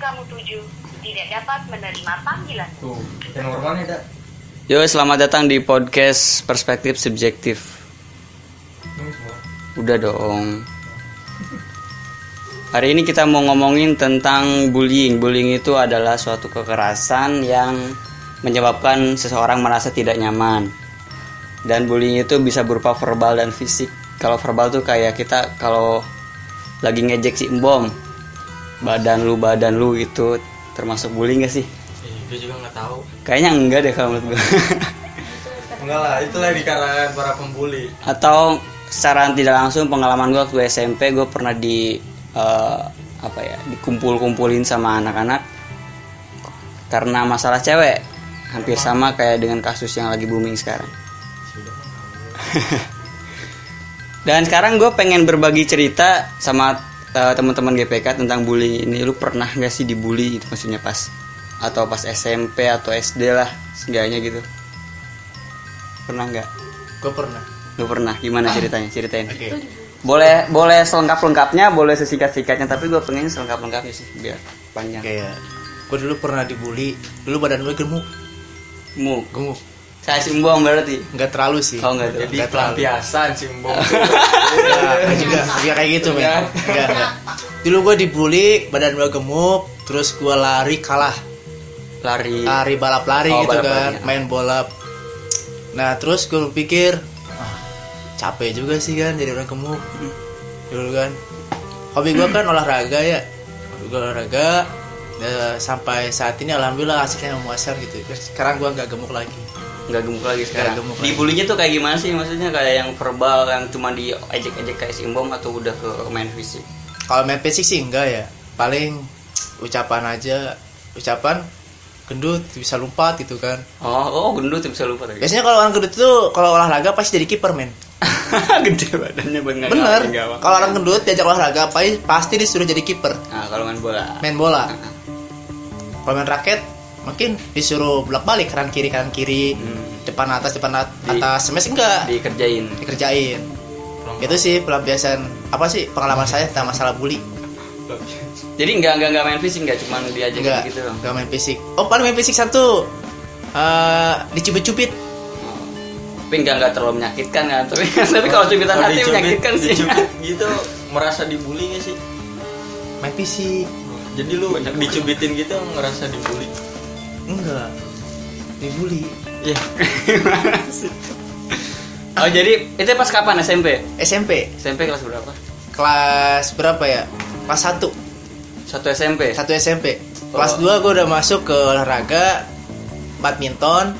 kamu tuju tidak dapat menerima panggilan. Tuh, kita normalnya ada. Yo, selamat datang di podcast Perspektif Subjektif. Nunggu semua. Udah dong. Hari ini kita mau ngomongin tentang bullying. Bullying itu adalah suatu kekerasan yang menyebabkan seseorang merasa tidak nyaman. Dan bullying itu bisa berupa verbal dan fisik. Kalau verbal tuh kayak kita kalau lagi ngejek si embom, badan lu badan lu itu termasuk bullying gak sih? Ih, gue Iya, juga nggak tahu. Kayaknya enggak deh kalau menurut gue. Enggak lah, itulah dikarenakan para pembuli. atau secara tidak langsung pengalaman gue waktu SMP gue pernah di eh, apa ya dikumpul-kumpulin sama anak-anak karena masalah cewek hampir sama kayak dengan kasus yang lagi booming sekarang dan sekarang gue pengen berbagi cerita sama eh, teman-teman GPK tentang bullying ini lu pernah gak sih dibully itu maksudnya pas atau pas SMP atau SD lah seenggaknya gitu pernah nggak Gue pernah. Lu pernah gimana ceritanya? Ceritain. Oke. Boleh boleh selengkap-lengkapnya, boleh sesingkat-singkatnya, tapi gue pengen selengkap-lengkapnya sih biar panjang. Kayak gue dulu pernah dibully. Dulu badan gue gemuk, Mu. gemuk. Saya simbong berarti. Enggak terlalu sih. Oh, nggak terlalu. Jadi Nggak terlalu. pelampiasan simbol. Enggak, enggak juga. Enggak kayak gitu, men. Enggak, enggak. Dulu gue dibully, badan gue gemuk, terus gue lari kalah. Lari. Lari balap lari Oh, gitu balap kan, lari, ya. main bola. Nah, terus gue pikir ah, capek juga sih kan jadi orang gemuk. Hmm. Dulu kan. Hobi gue kan olahraga ya. Gue olahraga eh, sampai saat ini alhamdulillah hasilnya memuaskan gitu. Sekarang gue nggak gemuk lagi. Nggak gemuk lagi sekarang. gemuk lagi. Dibulinya tuh kayak gimana sih? Maksudnya kayak yang verbal, yang cuma diajak-ajak kayak simbong atau udah ke main fisik? Kalau main fisik sih enggak ya. Paling ucapan aja, ucapan gendut bisa lompat gitu kan. Oh, oh gendut bisa lupa tadi. Biasanya kalau orang gendut tuh kalau olahraga pasti jadi kiper men. Gede badannya bener. Bener. Nggak apa-apa. Kalau orang gendut diajak olahraga pasti pasti disuruh jadi kiper. Nah, kalau main bola. Main bola. Kalau main raket mungkin disuruh bolak balik kanan kiri kanan kiri Hmm. depan atas depan at- Di- atas semes enggak Dikerjain. dikerjain Gitu. itu sih pelampiasan apa sih pengalaman Hmm. saya tentang masalah bully Jadi nggak nggak nggak main fisik nggak cuma diajak enggak gitu dong. enggak main fisik oh paling main fisik satu eh dicubit-cubit tapi nggak nggak terlalu menyakitkan kan tapi tapi kalau cubitan Kalau hati dicubit- menyakitkan sih dicubit gitu merasa dibully gak sih? main fisik Jadi lu dicubitin gitu ngerasa dibully. enggak dibully Iya. oh jadi itu pas kapan SMP SMP SMP kelas berapa kelas berapa ya kelas 1 satu SMP satu SMP Oh. kelas 2 gue udah masuk ke olahraga badminton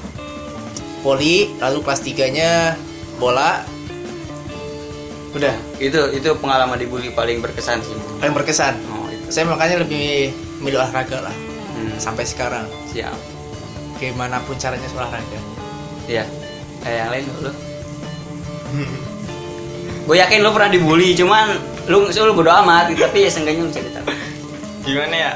voli lalu kelas 3 nya bola udah itu itu pengalaman dibully paling berkesan sih paling berkesan oh itu saya makanya lebih milih olahraga lah Hmm, sampai sekarang siap gimana pun caranya olahraga iya eh yang lain lu gue yakin lu pernah dibully cuman lu lu bodo amat tapi ya seenggaknya lu cerita Gimana ya?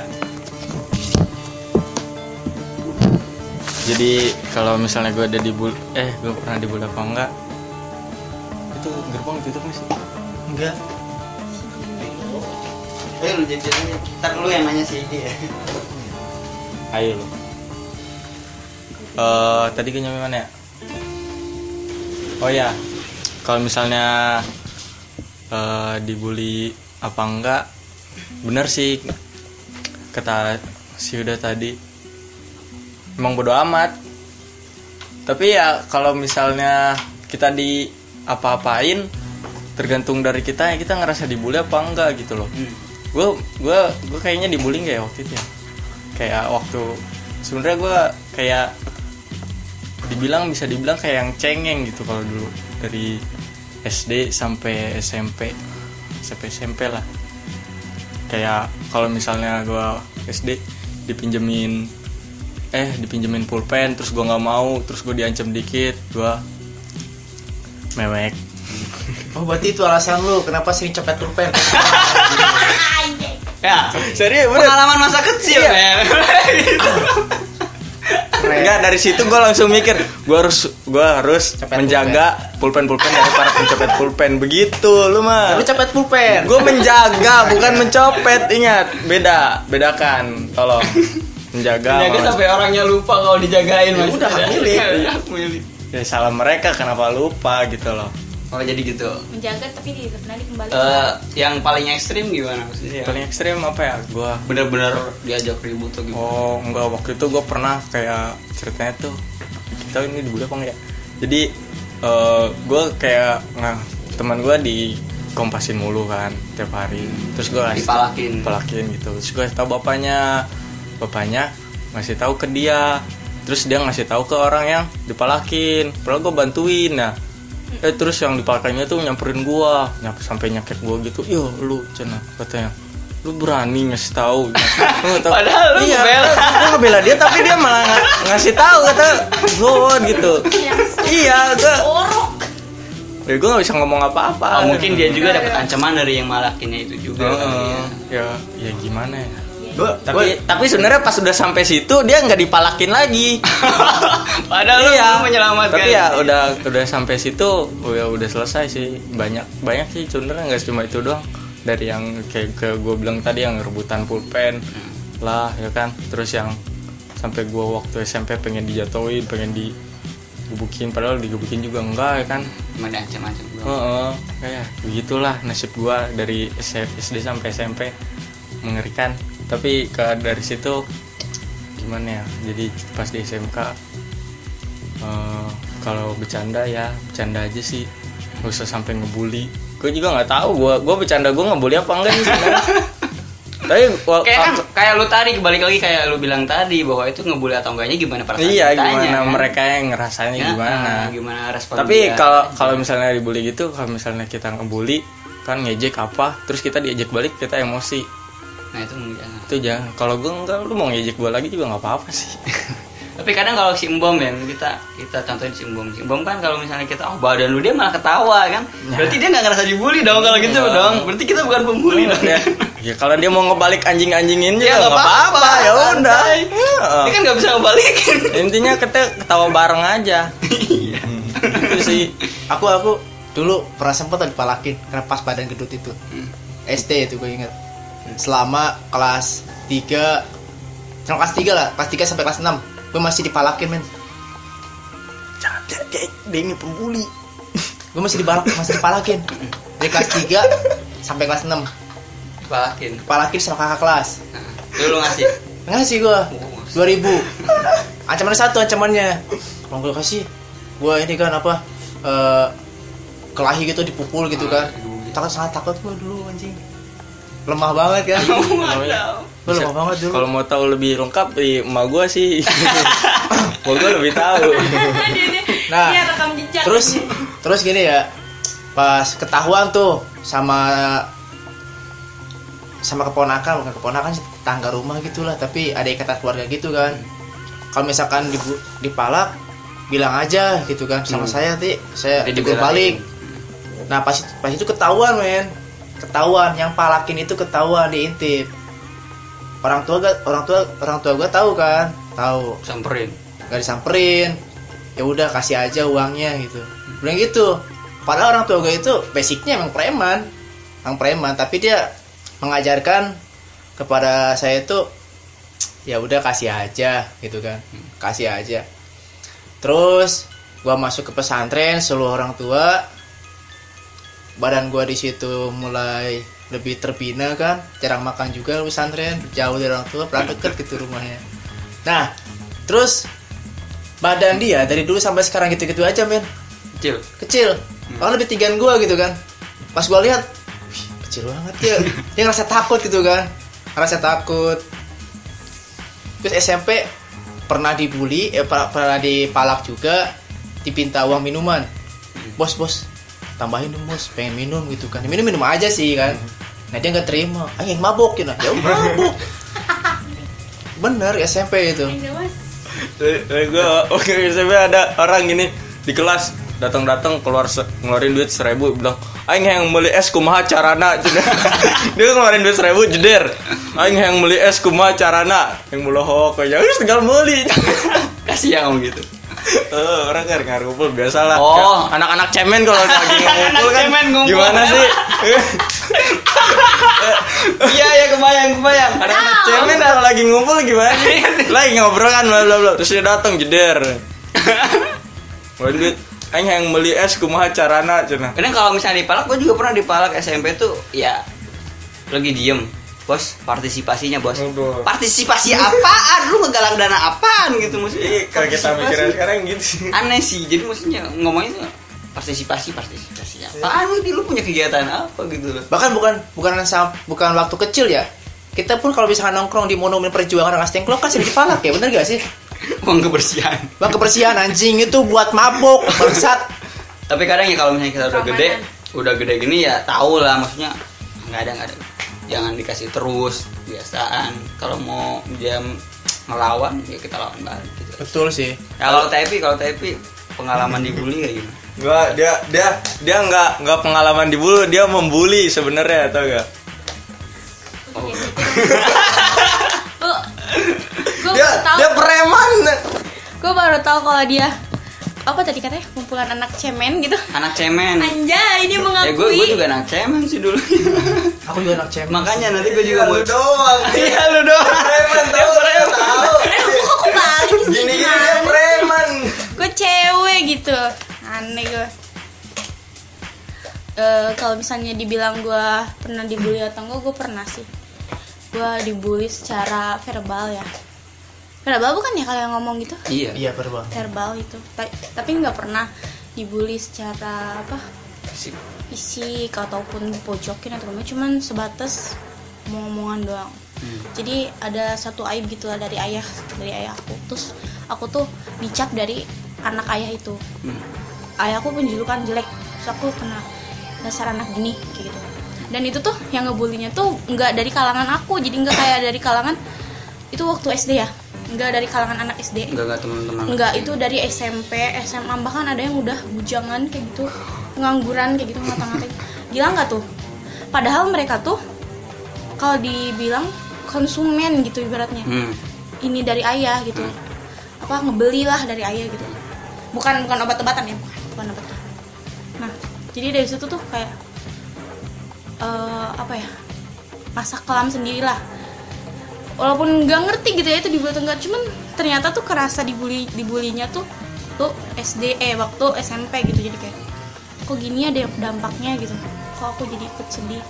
Jadi kalau misalnya gue ada dibully, eh gue pernah dibully apa enggak? Itu gerbang tutup nih sih. enggak eh lu jadi ntar lu yang nanya ya. sih dia Ayo lu. Eh, tadi gue nyampe mana ya? Oh ya, kalau misalnya eh, dibully apa enggak? Bener sih kata si Yuda tadi. Emang bodo amat. Tapi ya kalau misalnya kita di apa-apain tergantung dari kita ya kita ngerasa dibully apa enggak gitu loh gue gue gue kayaknya dibully kayak waktu itu ya kayak waktu sebenarnya gue kayak dibilang bisa dibilang kayak yang cengeng gitu kalau dulu dari SD sampai SMP sampai SMP lah kayak kalau misalnya gue SD dipinjemin eh dipinjemin pulpen terus gue nggak mau terus gue diancam dikit gue mewek oh berarti itu alasan lu kenapa sering copet pulpen ya serius Iya. pengalaman masa kecil men Enggak dari situ gue langsung mikir gue harus gua harus Copet menjaga pulpen pulpen dari para pencopet pulpen begitu lu mah. Lu cepet pulpen. Gue menjaga bukan mencopet ingat beda bedakan tolong menjaga. Jaga sama- sampai orangnya lupa kalau dijagain mas. udah, hak milik. Iya, Hak milik. Ya, salah mereka kenapa lupa gitu loh. Oh jadi gitu. menjaga tapi tidak pernah dikembalikan Eh, yang paling ekstrim gimana maksudnya? Paling ekstrim apa ya gue? Bener-bener diajak ribut atau gimana? Oh enggak waktu itu gue pernah kayak ceritanya tuh kita ini di Budak apa enggak ya? Jadi gue kayak nah teman gue dikompasin mulu kan tiap hari. Terus gue Dipalakin. pelakin gitu. Terus gue tahu bapaknya, bapaknya ngasih tahu ke dia. Terus dia ngasih tahu ke orang yang dipalakin. Padahal gue bantuin nah. Eh terus yang dipalakinnya tuh nyamperin gua, nyampe sampai nyakit gua gitu. Yo lu cina katanya lu berani ngasih tahu Padahal lu iya, ngebela. gue ngebela dia tapi dia malah nga- ngasih tahu kata gue gitu iya gue ya gue gak bisa ngomong apa-apa Oh, mungkin dia juga Iya. dapat ancaman dari yang malakinnya itu juga. Heeh. kali ya. ya ya gimana ya Gua- tapi tapi sebenarnya pas udah sampai situ dia nggak dipalakin lagi Padahal lu Iya. belum menyelamatkan. tapi ya udah udah sampai situ ya udah selesai sih banyak banyak sih sebenarnya nggak cuma itu doang dari yang kayak ke gue bilang tadi yang rebutan pulpen Hmm, lah ya kan terus yang sampai gue waktu SMP pengen dijatuhin pengen digebukin padahal digebukin juga enggak ya kan Cuma ada ancaman-ancaman doang. Heeh, kayak begitulah nasib gua dari S- SD sampai SMP mengerikan. Tapi ke dari situ gimana ya? Jadi pas di SMK eh, kalau bercanda ya bercanda aja sih, gak usah sampai ngebully. Gue juga nggak tahu gua gua bercanda gua ngebully apa enggak sih sebenarnya. Tapi wa- Kayak kan, kayak lu tadi kebalik lagi kayak lu bilang tadi bahwa itu ngebully atau enggaknya gimana perasaan iya kitanya, gimana kan? mereka yang ngerasainnya Ya, gimana? ah, gimana respon tapi dia? kalau kalau misalnya dibully gitu kalau misalnya kita ngebully kan ngejek apa terus kita diejek balik kita emosi nah itu enggak. itu jangan kalau gue enggak lu mau ngejek gue lagi juga nggak apa-apa sih Tapi kadang kalau si Embom ya kita kita contohin si Embom. Si Embom kan kalau misalnya kita oh badan lu dia malah ketawa kan. Berarti dia nggak ngerasa dibully dong kalau gitu dong. Berarti kita bukan pembuli dong. ya, ya kalau dia mau ngebalik anjing-anjingin juga Ya, nggak nggak apa-apa kan- ya udah santai. Heeh. Dia kan nggak bisa ngebalikin. intinya kita ketawa bareng aja Iya. itu sih aku aku dulu pernah sempat tuh dipalakin karena pas badan gedut itu SD itu gue inget selama kelas 3 selama kelas 3 lah kelas 3 sampai kelas 6 gue masih dipalakin men jangan dia, dia, dia ini pembuli gue masih dipalak masih dipalakin dari kelas 3 sampai kelas 6 Dibalakin. dipalakin sama kakak kelas Nah, itu lu ngasih. ngasih gue 2000 ancaman satu ancamannya kalau gue kasih gue ini kan apa eh, kelahi gitu dipukul gitu kan takut sangat takut gue dulu anjing lemah banget kan gue lemah banget dulu kalau mau tahu lebih lengkap di emak gue sih emak gue lebih tahu Nah, Iya, rekam jejak terus terus gini ya pas ketahuan tuh sama sama keponakan bukan keponakan sih, tetangga rumah gitulah tapi ada ikatan keluarga gitu kan kalau misalkan dibu- dipalak bilang aja gitu kan sama saya nanti saya Nanti dipukul dibelain. balik nah pas itu, pas itu ketahuan men ketahuan yang palakin itu ketahuan diintip orang tua gak, orang tua orang tua gue tahu kan tahu Samperin. nggak disamperin ya udah kasih aja uangnya gitu bilang gitu padahal orang tua gue itu basicnya emang preman emang preman tapi dia mengajarkan kepada saya itu ya udah kasih aja gitu kan kasih aja terus gua masuk ke pesantren seluruh orang tua badan gua di situ mulai lebih terbina kan jarang makan juga di pesantren jauh dari orang tua pelan deket gitu rumahnya nah terus badan dia dari dulu sampai sekarang gitu-gitu aja men Kecil. kecil orang lebih tigaan gua gitu kan pas gua lihat wih, kecil banget dia dia ngerasa takut gitu kan ngerasa takut terus SMP pernah dibully eh, per- pernah dipalak juga dipinta uang minuman bos bos tambahin dong bos pengen minum gitu kan minum minum aja sih kan nah dia nggak terima ah yang mabok gitu ya udah, mabok bener SMP itu Yang jelas. gue Eh, oke misalnya ada orang gini di kelas datang datang keluar se- ngeluarin duit seribu bilang aing yang beli es kumaha carana Cina. dia ngeluarin duit seribu jeder aing yang ya, beli es kumaha carana yang melohok kayak "Wis, tinggal beli kasih ya om gitu Eh, orang kan nggak ngumpul biasa lah. Oh. Kan Anak-anak cemen kalau lagi ngumpul kan. cemen ngumpul. Gimana sih? Eh, iya ya kebayang kebayang Anak-anak kan? cemen kalau lagi ngumpul gimana sih? lagi ngobrol kan bla bla bla. Terus dia datang jeder. Mau duit. Aing yang beli es kumaha carana cenah. kadang kalau misalnya di Palak gue juga pernah di Palak SMP tuh ya lagi diem bos partisipasinya bos Aduh. partisipasi apaan lu ngegalang dana apaan gitu maksudnya Iya, kalau kita mikirnya sekarang gitu sih. aneh sih jadi maksudnya ngomongnya tuh partisipasi partisipasi Iya. apaan lu lu punya kegiatan apa gitu loh bahkan bukan bukan sa- bukan waktu kecil ya kita pun kalau misalkan nongkrong di monumen perjuangan Rengas Dengklok kan sering dipalak ya bener gak sih uang kebersihan bang kebersihan anjing itu buat mabok bangsat tapi kadang ya kalau misalnya kita udah gede Keamanan. udah gede gini ya tahu lah maksudnya nggak ada nggak ada jangan dikasih terus biasaan kalau mau dia melawan ya kita lawan balik gitu betul sih ya kalau Tepi kalau Tepi pengalaman dibully kayak gimana Gua dia dia dia nggak nggak pengalaman dibully, dia membuli sebenarnya tau gak? Gue gue Dia tahu dia preman. gue baru tahu kalau dia apa tadi katanya kumpulan anak cemen gitu anak cemen anjay ya dia gue gue mengakui juga anak cemen sih dulu aku juga anak cemen makanya nanti gue juga mau doang. iya lu doang Preman tau tau. kok kebalik Gini gini dia preman. gue cewek gitu aneh gue Eh, kalau misalnya dibilang gue pernah dibully atau enggak gue pernah sih gue dibully secara verbal ya verbal bukan ya kalau yang ngomong gitu iya iya berbang verbal itu Ta- tapi nggak pernah dibully secara apa Fisik. fisik ataupun pojokin atau apa cuman sebatas omongan doang jadi ada satu aib gitu lah dari ayah dari ayah aku terus aku tuh dicap dari anak ayah itu Hmm. ayahku pun julukan jelek terus aku kena dasar anak gini kayak gitu dan itu tuh yang ngebulinya tuh nggak dari kalangan aku jadi nggak kayak dari kalangan itu waktu SD ya nggak dari kalangan anak SD enggak enggak teman-teman Enggak, itu dari SMP, SMA bahkan ada yang udah bujangan kayak gitu, pengangguran kayak gitu ngata-ngatain. Gila nggak tuh? Padahal mereka tuh kalau dibilang konsumen gitu ibaratnya. hmm. Ini dari ayah gitu. Apa ngebelilah dari ayah gitu. Bukan bukan obat-obatan ya, bukan, bukan obat. Nah, jadi dari situ tuh kayak eh, apa ya? Masa kelam sendirilah walaupun nggak ngerti gitu ya itu dibully atau enggak cuman ternyata tuh kerasa dibully dibulinya tuh tuh SD eh waktu SMP gitu jadi kayak kok gini ada dampaknya gitu kok aku jadi ikut sedih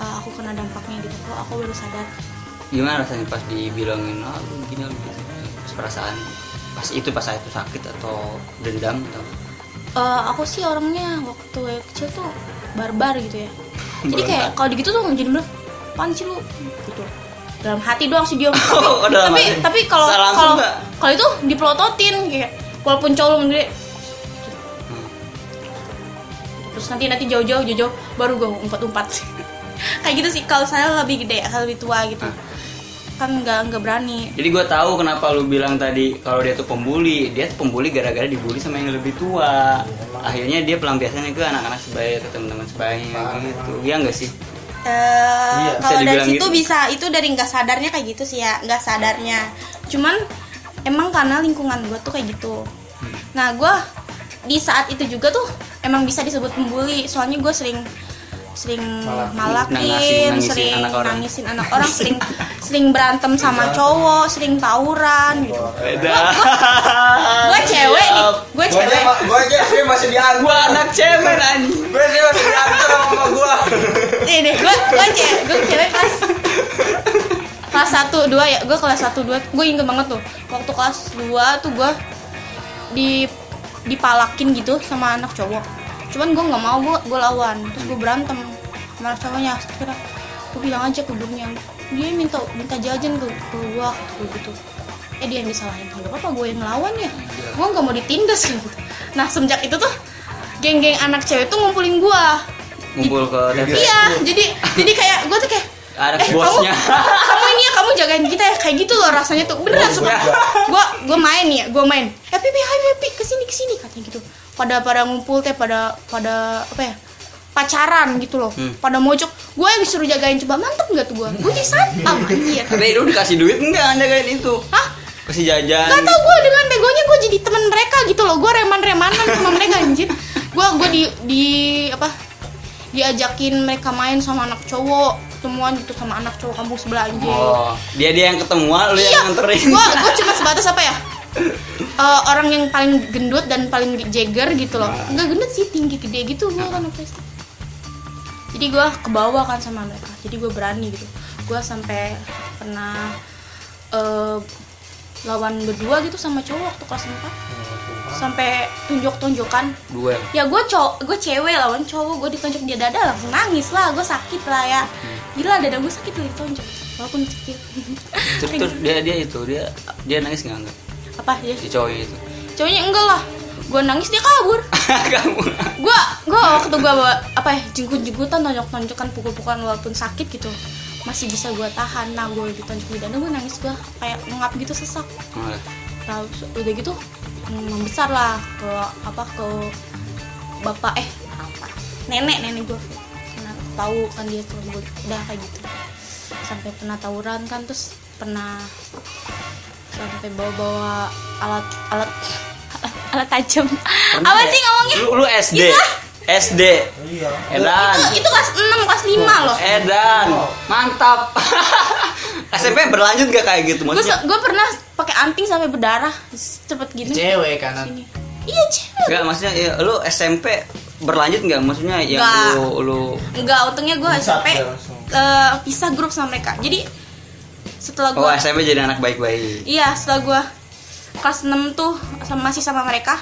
Eh, aku kena dampaknya gitu kok aku baru sadar gimana rasanya pas dibilangin ah lu gini lu gitu Pas perasaan pas itu pas saat itu sakit atau dendam atau Eh, aku sih orangnya waktu kecil tuh barbar gitu ya jadi kayak kalau digitu tuh jadi bener apaan sih lu gitu dalam hati doang sih dia tapi Oh, dalam tapi, hati. tapi kalau Secara langsung kalau nggak? kalau itu dipelototin kayak walaupun cowok lu gede Hmm. terus nanti nanti jauh-jauh jauh-jauh baru gue umpat-umpat kayak gitu sih kalau saya lebih gede kalau lebih tua gitu Ah. kan nggak nggak berani jadi gue tahu kenapa lu bilang tadi kalau dia tuh pembuli dia tuh pembuli gara-gara dibully sama yang lebih tua akhirnya dia pelampiasannya ke anak-anak sebaya ke teman-teman sebaya gitu ya enggak sih eh Bisa kalau dari dibilang situ gitu. bisa itu dari nggak sadarnya kayak gitu sih ya nggak sadarnya cuman emang karena lingkungan gue tuh kayak gitu Hmm. nah gue di saat itu juga tuh emang bisa disebut pembuli soalnya gue sering sering Nangasin- malakin nangisin sering anak orang. nangisin anak orang sering sering berantem sama cowok sering tawuran gitu gue cewek nih gue cewek Gua aja dia masih diantar. gua anak Iya, cemen anjing Gua dia masih diantar sama gua. Nih deh, gue gue cewek, gue cewek kelas kelas satu dua ya, gue kelas satu dua, gue inget banget tuh. Waktu kelas 2 tuh gue di dipalakin gitu sama anak cowok. Cuman gue nggak mau gue gue lawan, terus gue berantem sama anak cowoknya. Terus Kira gue bilang aja ke gurunya, dia minta minta jajan ke, ke gue gue gitu. Eh dia yang disalahin, gak apa-apa gue yang lawan ya. Gue nggak mau ditindas gitu. Nah semenjak itu tuh geng-geng anak cewek tuh ngumpulin gue ngumpul ke TP Iya, jadi jadi kayak gue tuh kayak ada eh bosnya kamu kamu ini ya kamu jagain kita ya kayak gitu loh rasanya tuh beneran suka gue gue main nih ya gue main eh pipi hai pipi kesini kesini katanya gitu pada pada ngumpul teh pada pada apa ya pacaran gitu loh Hmm. pada mojok gue yang disuruh jagain coba mantep nggak tuh gue gue jadi santam anjir tapi lu dikasih duit enggak jagain itu Hah? kasih jajan Gak tau gue dengan begonya gue jadi teman mereka gitu loh Gue reman-remanan sama mereka anjir Gue gua di, di apa diajakin mereka main sama anak cowok Temuan gitu sama anak cowok kampung sebelah anjir oh dia dia yang ketemuan lu yang nganterin Gue gue Iya, cuma sebatas apa ya Eh, Orang yang paling gendut dan paling jeger gitu loh Nah. Enggak gendut sih tinggi gede gitu gue kan waktu itu. Jadi gue kebawa kan sama mereka Jadi gue berani gitu Gue sampai pernah eh, lawan berdua gitu sama cowok waktu kelas 4 sampai tunjuk-tunjukkan dua ya gue cowok gue cewek lawan cowok gue ditonjok dia dada langsung nangis lah gue sakit lah ya Hmm. gila dada gue sakit tuh ditonjok walaupun kecil terus, terus dia dia itu dia dia nangis nggak nggak apa ya? dia si cowoknya itu cowoknya enggak lah gue nangis dia kabur kamu gue gue waktu gue apa ya jenggut-jenggutan tonjok-tonjokan pukul-pukulan walaupun sakit gitu masih bisa gue tahan nah gue ditonjok di dada gue nangis gue kayak ngap gitu sesak Malah. tahu udah gitu mm, membesar lah ke apa ke bapak eh apa nenek nenek gue pernah tahu kan dia tuh gua- udah kayak gitu sampai pernah tawuran kan terus pernah sampai bawa-bawa alat alat alat, alat tajam Pernah apa ya? sih ngomongnya lu, lu SD SD Iya. Edan itu, itu kelas 6, kelas 5 eh, loh Edan mantap SMP berlanjut gak kayak gitu gue maksudnya gue pernah pakai anting sampai berdarah cepet gini Cewek kanan. Sini. iya cewek Enggak maksudnya ya, lu SMP berlanjut nggak maksudnya yang Nggak. lu lu oh, Enggak, untungnya gue Bisa, SMP ya, langsung. eh, pisah grup sama mereka. Jadi setelah oh gue, SMP jadi anak baik-baik iya setelah gue kelas 6 tuh sama, masih sama mereka.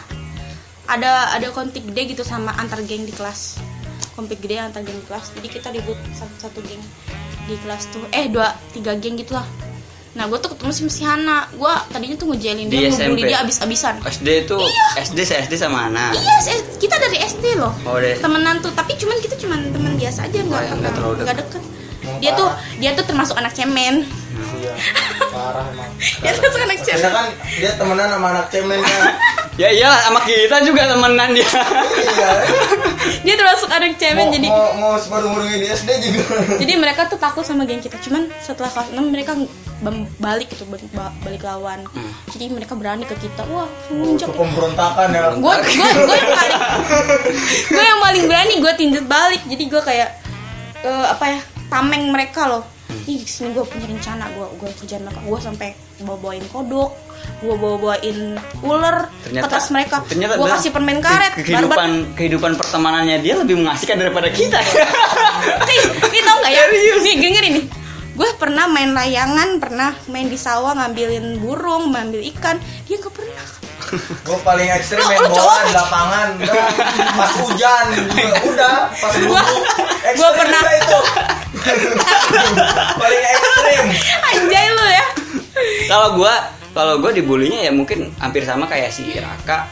Ada ada konflik gede gitu sama antar geng di kelas. Konflik gede antar geng di kelas. Jadi kita ribut satu, satu geng di kelas tuh. Eh dua tiga geng gitulah. Nah gue tuh ketemu sama si Hana. Gue tadinya tuh ngejelin Di dia, ngebully SMP. dia abis-abisan. SD itu SD se SD sama anak Iya, se- kita dari SD loh. Oh, dari- Temenan tuh, tapi cuman kita cuman teman biasa aja Oh, nggak iya, pernah nggak terlalu nggak deket. Dia tuh dia tuh termasuk anak cemen. Iya. Parah emang. Dia termasuk anak cemen. Karena kan dia temenan sama anak cemen kan. ya iyalah sama kita juga temenan dia Iya. Dia termasuk anak cemen Mau, jadi mau, mau separuh umurnya di SD juga. jadi mereka tuh takut sama geng kita. Cuman setelah kelas 6 mereka bam- balik gitu balik, ba- balik lawan. Hmm. Jadi mereka berani ke kita. Wah, Itu nginjek. pemberontakan ya. gue gue gue yang paling gue yang paling berani gue tinjau balik jadi gue kayak eh, apa ya tameng mereka loh Hmm. ih sini gue punya rencana gue gue kerjaan mereka gue sampai bawa bawain kodok gue bawa bawain ular ke ternyata atas mereka ternyata gue adalah kasih permen karet ke- barbar kehidupan kehidupan pertemanannya dia lebih mengasihkan daripada kita nih nih tau nggak ya nih dengerin nih gue pernah main layangan pernah main di sawah ngambilin burung ngambil ikan dia nggak pernah Gue paling ekstrim Lu- main lu bola cowok di lapangan. Udah. Pas hujan juga. Udah. Pas Gua- dulu. gua pernah- itu. paling ekstrim. anjay lu ya kalau gua kalau gua dibulinya ya mungkin hampir sama kayak si Raka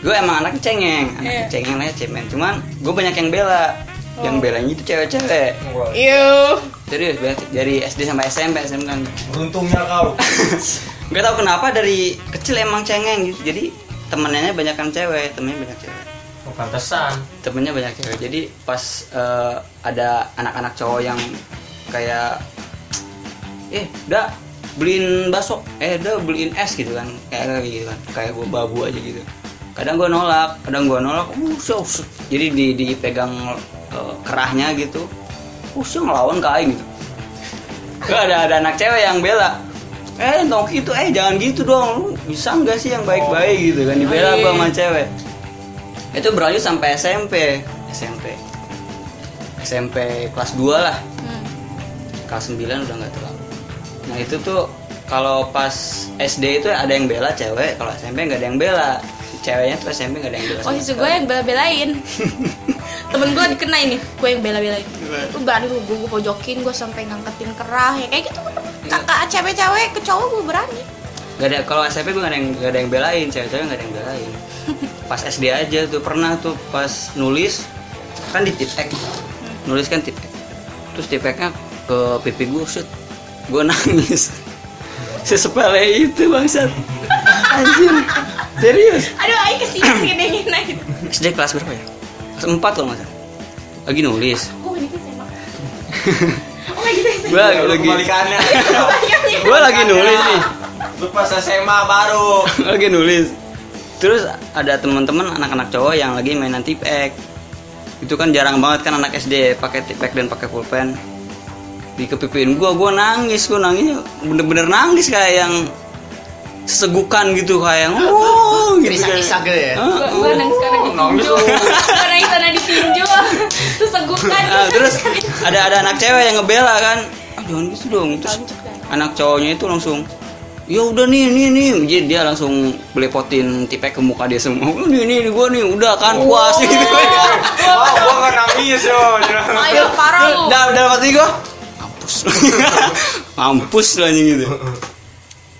gue emang anak cengeng anak Iya. cengeng lah cemen cuman gue banyak yang bela yang belanya itu cewek-cewek Yuh. serius banyak. dari SD sampai SMP SMP kan Beruntungnya kau. nggak tahu kenapa dari kecil emang cengeng gitu jadi temennya banyak cewek temennya banyak cewek Oh, Pantesan. temennya banyak cewek jadi pas eh, ada anak-anak cowok yang kayak eh udah beliin bakso eh udah beliin es gitu kan kayak gitu kan kayak gue babu aja gitu kadang gue nolak kadang gue nolak uh, siau, siau. jadi di- dipegang eh, kerahnya gitu uh siau, ngelawan ke aing gitu Gak ada ada anak cewek yang bela eh Nongki itu eh jangan gitu dong lu bisa nggak sih yang baik-baik Oh. gitu kan dibela Iya. gua sama cewek itu berlanjut sampai SMP SMP SMP kelas 2 lah Hmm. kelas 9 udah nggak terlalu nah itu tuh kalau pas SD itu ada yang bela cewek kalau SMP nggak ada yang bela ceweknya tuh SMP nggak ada yang bela Oh sama itu sekali. gue yang bela-belain Temen gue dikena ini Gue yang bela-belain Lu berani lu gue pojokin Gue sampai ngangkatin kerah ya Kayak gitu Kakak cewek-cewek ke cowok gue berani Gak ada kalau SMP gue gak ada yang gak ada yang belain, cewek-cewek gak ada yang belain. Pas SD aja tuh pernah tuh pas nulis kan di tipek, nulis kan tipek. Terus tipeknya ke pipi gue shoot, gue nangis. Sesepele itu bangsat. Anjir, serius. Aduh ayo kesini gini gini gitu SD kelas berapa ya? Kelas 4 kalau nggak salah. Lagi nulis. Oh gitu SMA Oh gitu SMA Gue lagi Kebalikannya. Iya, gue lagi nulis nih Lu pas SMA baru. lagi nulis terus ada teman-teman anak-anak cowok yang lagi mainan tipek itu kan jarang banget kan anak SD pakai tipek dan pakai pulpen dikepipin gua gua nangis gua nangis bener-bener nangis kayak yang segukan gitu kayak oh gitu Isak-isak gitu ya? Heeh. gue nangis karena dipinjol gue nangis karena dipinjol terus segukan Ah, terus ada ada anak cewek yang ngebela kan ah, jangan gitu dong terus anak cowoknya itu langsung ya udah nih nih nih jadi dia langsung belepotin tipek ke muka dia semua "Oh, nih nih gua nih udah kan puas gitu Oh, gua nggak nangis yo. Ayo parah lu. dalam dalam hati gua mampus mampus lah anjing gitu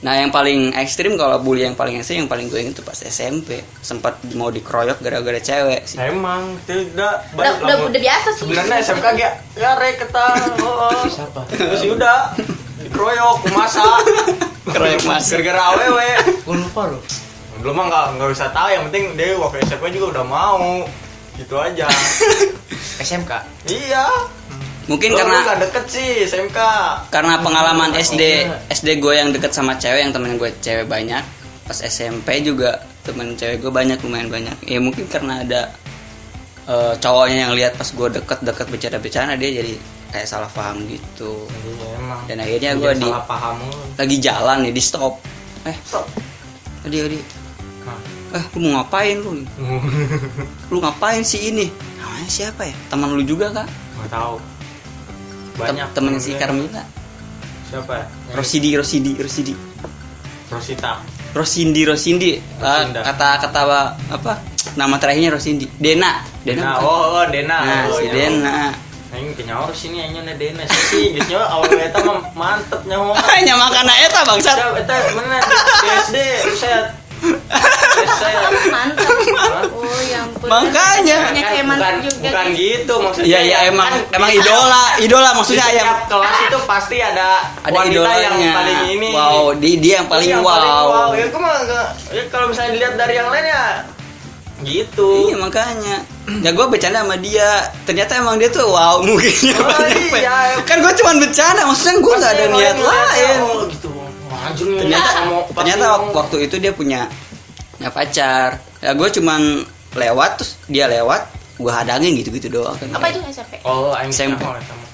nah yang paling ekstrim kalau bully yang paling ekstrim yang paling gue inget tuh pas SMP sempat mau dikeroyok gara-gara cewek Eh. sih Emang tidak udah balik udah lama. udah biasa sih Sebenarnya SMK gak ya rek ketang. Oh, Siapa? terus udah dikeroyok, masa keroyok kan. mas gara-gara aww. Gue lupa loh. Belum mah nggak nggak bisa tahu. Yang penting dia waktu SMP juga udah mau. Gitu aja. SMK. iya. mungkin Lu karena nggak deket sih SMK. karena Iya, pengalaman oke. SD SD gue yang deket sama cewek yang temen gue cewek banyak pas SMP juga temen cewek gue banyak lumayan banyak ya mungkin karena ada eh, cowoknya yang lihat pas gue deket-deket bercanda-bercanda dia jadi kayak salah paham gitu Iya emang. dan akhirnya gue di Iya, salah paham. lu. lagi jalan nih di stop eh Stop. tadi tadi Hah. eh lu mau ngapain lu lu ngapain sih ini namanya siapa ya teman lu juga kak Nggak tahu. Tem- Banyak. Iya. temennya si temennya. Carmila Siapa? ya? Rosidi Rosidi Rosidi Rosita. Rosindi Rosindi Ah, Rosinda. kata kata apa nama terakhirnya Rosindi Dena Dena. bukan? Oh, oh, Dena. nah Oh, si nyawa. Dena Aing kenyawa sini aing na Dena sih. Geus nyawa awal eta mah mantep nyawa. hanya makan eta bangsat Siap, Eta mana? BSD, set. Set. mantap oh ya yang makanya Banyak Kan yang mantap bukan, Eh, juga, bukan guys. gitu maksudnya. Iya iya Kan emang di emang setiap- idola idola di maksudnya setiap yang kelas itu pasti ada, ada wanita idolanya yang paling ini. wow dia, dia yang paling Yang wow, Ya, gua mah nggak- ya, kalau misalnya dilihat dari yang lain ya gitu. iya makanya ya gue bercanda sama dia ternyata emang dia tuh wow mungkin Oh, iya. kan gue cuman bercanda maksudnya gue nggak ada Pasti niat yang lain ngeliatnya, lain Oh, gitu. Wah, anjir nih, ternyata sama ternyata pasti wak- ngomong. waktu itu dia punya punya pacar ya gue cuman lewat terus dia lewat gue hadangin gitu gitu doang kan Apa itu SMP? Oh, aing SMP. kenal sama.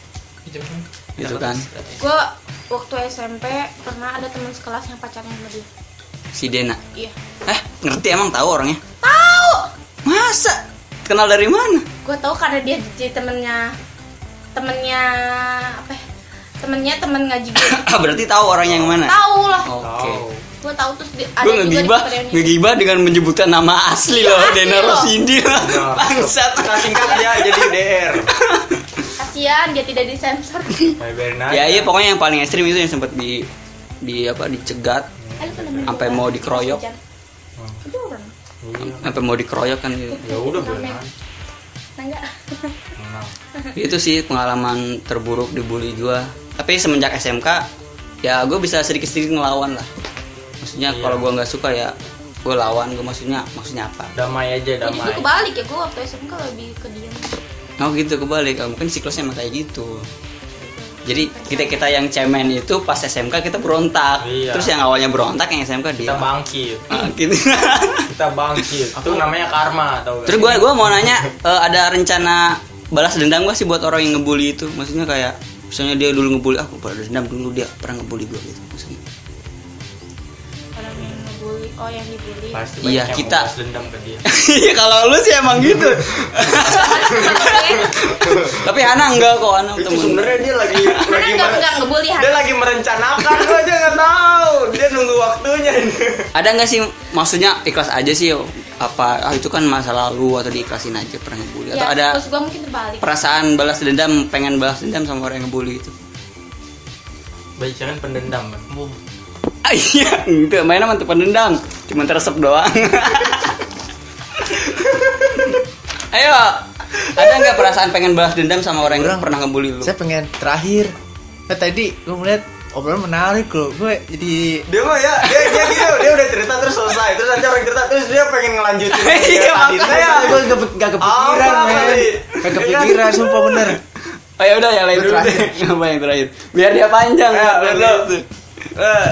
gitu kan Gue waktu SMP pernah ada teman sekelas yang pacarnya sama dia. si Dena Iya. eh ngerti emang tahu orangnya Tahu. masa kenal dari mana Gue tahu karena dia jadi temennya temennya apa? ya? Temennya temen ngaji gue. Ah, berarti tahu orang yang mana tahu lah. oke Gue tahu terus di- ada gue juga di ngegibah reuni. ngegibah dengan menyebutkan nama asli loh asli Dena loh. Rosindi lah Nah. bangsat Nah, singkat ya jadi DR. Kasihan dia tidak disensor. Bye bye nah. ya iya pokoknya yang paling ekstrim itu yang sempat di di apa dicegat Ayo, kenapa namanya? Sampai mau dikeroyok. Itu orang. sampai mau dikeroyok kan gitu Iya. Ya udah boleh. Nangga. Menang. itu sih pengalaman terburuk dibully gua tapi semenjak SMK ya gue bisa sedikit sedikit ngelawan lah maksudnya Iya. kalau gua nggak suka ya gue lawan gue maksudnya maksudnya apa Damai aja Gue justru damai. kebalik ya, gue waktu SMK lebih ke dia. oh gitu kebalik Oh, mungkin siklusnya emang kayak gitu jadi kita kita yang cemen itu pas SMK kita berontak Iya. terus yang awalnya berontak yang SMK dia Kita bangkit. Ah, gitu. Kita bangkit. Itu namanya karma tau gak? terus gue gua mau nanya eh, ada rencana balas dendam gak sih buat orang yang ngebully itu maksudnya kayak misalnya dia dulu ngebully "Ah, aku balas dendam dulu dia pernah ngebully gue gitu maksudnya Orang yang ngebully, oh yang dibully. Pasti banyak Iya, yang kita. mau balas dendam ke dia. Iya kalau lu sih emang gitu. Tapi Hana enggak kok Hana Itu temen. sebenarnya dia lagi lagi Karena nggak mere- nggak Kan ngebully dia lagi merencanakan gua aja nggak tahu. Dia nunggu waktunya. Ada nggak sih maksudnya ikhlas aja sih apa ah, itu kan masa lalu atau diikhlasin aja pernah ngebully atau ya, ada terus gue mungkin terbalik. perasaan balas dendam pengen balas dendam sama orang yang ngebully itu. Bicaraan pendendam. kan? Ah, iya, enggak main sama tempat dendam, cuma teresep doang. Ayo, ada nggak perasaan pengen balas dendam sama orang yang Orang- pernah ngebully lu? Saya pengen terakhir. Nah, tadi gue melihat obrolan menarik loh. Gue jadi Dia mah ya, dia dia gitu, dia udah cerita terus selesai. Terus nanti orang cerita terus dia pengen ngelanjutin. Iya, makanya. Ternyata gue gak, gak kepikiran, Apa men. kali? Gak kepikiran, sumpah bener. gitu." Oh ya udah yang lain dulu deh. Apa yang terakhir? Biar dia panjang. Ya, Pak. bener. Eh,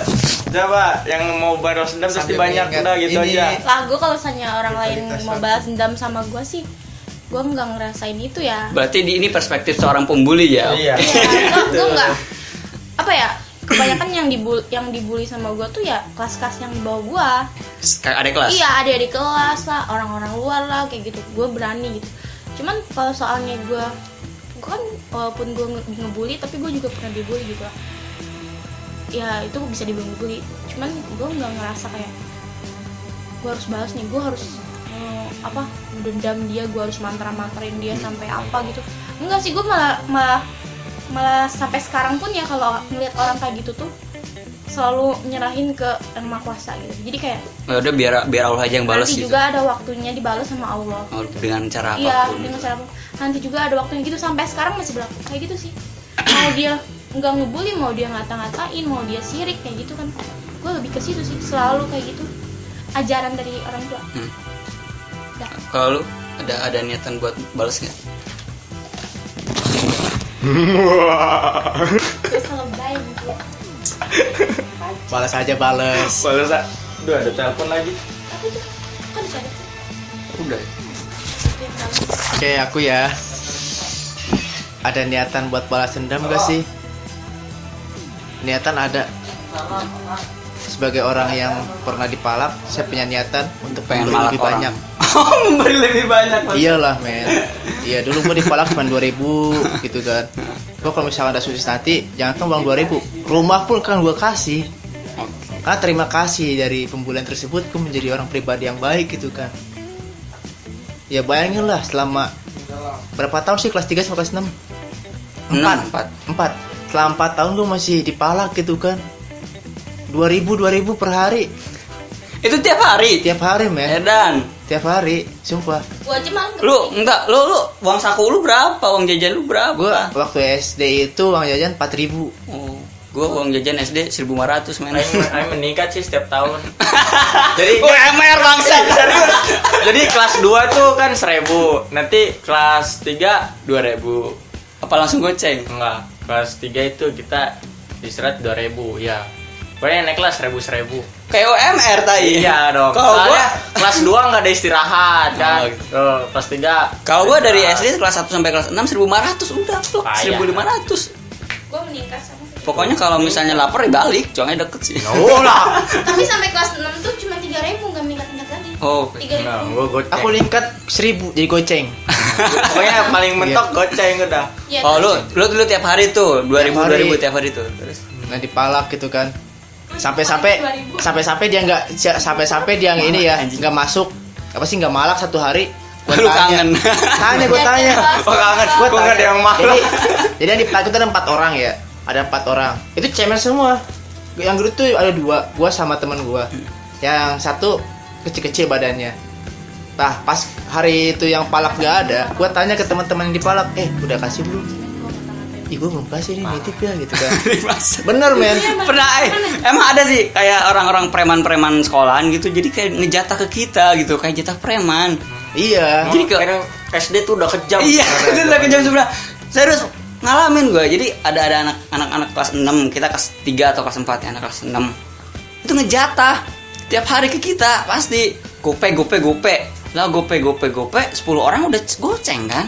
coba yang mau balas dendam pasti Sambil banyak mengingat udah gitu ini. aja. lah gue kalau misalnya orang lain mau balas dendam sama gue sih gue nggak ngerasain itu ya Berarti di ini perspektif seorang pembuli ya. Iya. gue Gitu. nggak apa ya kebanyakan yang dibul yang dibully sama gue tuh ya kelas-kelas yang di bawah gue Kayak Ada kelas. iya ada di kelas lah orang-orang luar lah kayak gitu gue berani gitu cuman kalau soalnya gue gue kan walaupun gue nge- ngebully tapi gue juga pernah dibully gitu lah. ya itu bisa dibilang bully cuman gue nggak ngerasa kayak gue harus balas nih gue harus eh, apa dendam dia gue harus mantra-mantrain dia sampai apa gitu enggak sih gue malah malah malah sampai sekarang pun ya kalau ngelihat orang kayak gitu tuh selalu nyerahin ke yang maha kuasa gitu jadi kayak Ya Udah biar biar Allah aja yang balas nanti gitu. juga ada waktunya dibalas sama Allah Oh, Dengan cara iya apapun. dengan cara nanti juga ada waktunya gitu sampai sekarang masih berlaku kayak gitu sih mau dia nggak ngebully mau dia ngata-ngatain mau dia sirik kayak gitu kan gue lebih ke situ sih selalu kayak gitu ajaran dari orang tua Hmm. Dah. Kalau lu ada ada niatan buat balas nggak? gue selalu baik gitu Balas aja balas. Balas ah. Duh, ada telepon lagi. tapi itu kan bisa ada sih Udah. yang balas. Oke, aku ya. Ada niatan buat balas dendam gak sih? Niatan ada. Sebagai orang yang pernah dipalak, saya punya niatan untuk Pengen memberi malak lebih orang. banyak. Oh, memberi lebih banyak. Mas. Iyalah, men. Iya, dulu gua dipalak cuma 2000 gitu kan. Gua kalau misalnya ada sukses nanti, jangan kan uang 2000. Rumah pun kan gua kasih. Karena terima kasih dari pembulian tersebut, gue menjadi orang pribadi yang baik gitu kan. Ya bayangin lah selama berapa tahun sih kelas 3 sampai kelas 6? Enam, empat. 4. Selama 4 tahun gue masih dipalak gitu kan. 2000 2000 per hari Itu tiap hari. tiap hari men Edan, tiap hari sumpah gue aja malah lu enggak, lu lu uang saku lu berapa? Uang jajan lu berapa? gue waktu SD itu uang jajan 4000 Oh, gua uang jajan SD 1500 men. Aing meningkat sih setiap tahun. Jadi UMR bangsa. Serius. Jadi kelas 2 tuh kan 1000. Nanti kelas 3 2000. Apa langsung goceng? Enggak, kelas 3 itu kita istirahat 2000 ya. Pokoknya naik kelas 1000 1000. Kayak UMR tadi. Iya dong. Kalau gua Soalnya kelas 2 nggak ada istirahat kan. Oh, Tuh, kelas 3. kalau gua dari SD kelas 1 sampai kelas 6 1500 udah plok Payah. 1500. gue meningkat sama sih. Pokoknya kalau misalnya lapar ya balik, cuangnya deket sih. Oh lah. tapi sampai kelas 6 tuh cuma tiga ribu nggak meningkat tingkat lagi Oh, oke. tiga Nah, ribu gua goceng. aku lingkat 1000 jadi goceng Pokoknya paling mentok goceng udah. Iya, Iya. Oh lu, lu lu tiap hari tuh 2000 Tiap hari. 2000 tiap hari tuh. Terus nah dipalak gitu kan sampai-sampai sampai-sampai dia nggak si- sampai-sampai dia yang ini ya Anjing. nggak masuk apa sih nggak malak satu hari Gua lu kangen. tanya gue tanya Oh kangen, Gua gua nggak ada yang malu. jadi jadi yang dipalak itu ada empat orang ya ada empat orang itu cemen semua yang dulu tuh ada dua gua sama teman gua yang satu kecil-kecil badannya nah pas hari itu yang palak gak ada gua tanya ke teman-teman yang dipalak eh udah kasih belum Ih gua belum kasih nih nitip ya gitu kan Dimasak. Bener men pernah eh, emang ada sih kayak orang-orang preman-preman sekolahan gitu jadi kayak ngejatah ke kita gitu kayak jatah preman Iya Jadi ke- Kadang SD tuh udah kejam. iya itu udah kejam Oh, sebelah serius ngalamin gue jadi ada ada anak anak anak kelas 6 kita kelas 3 atau kelas 4 ya anak kelas 6 itu ngejatah tiap hari ke kita pasti gope gope gope lah gope gope gope 10 orang udah c- goceng kan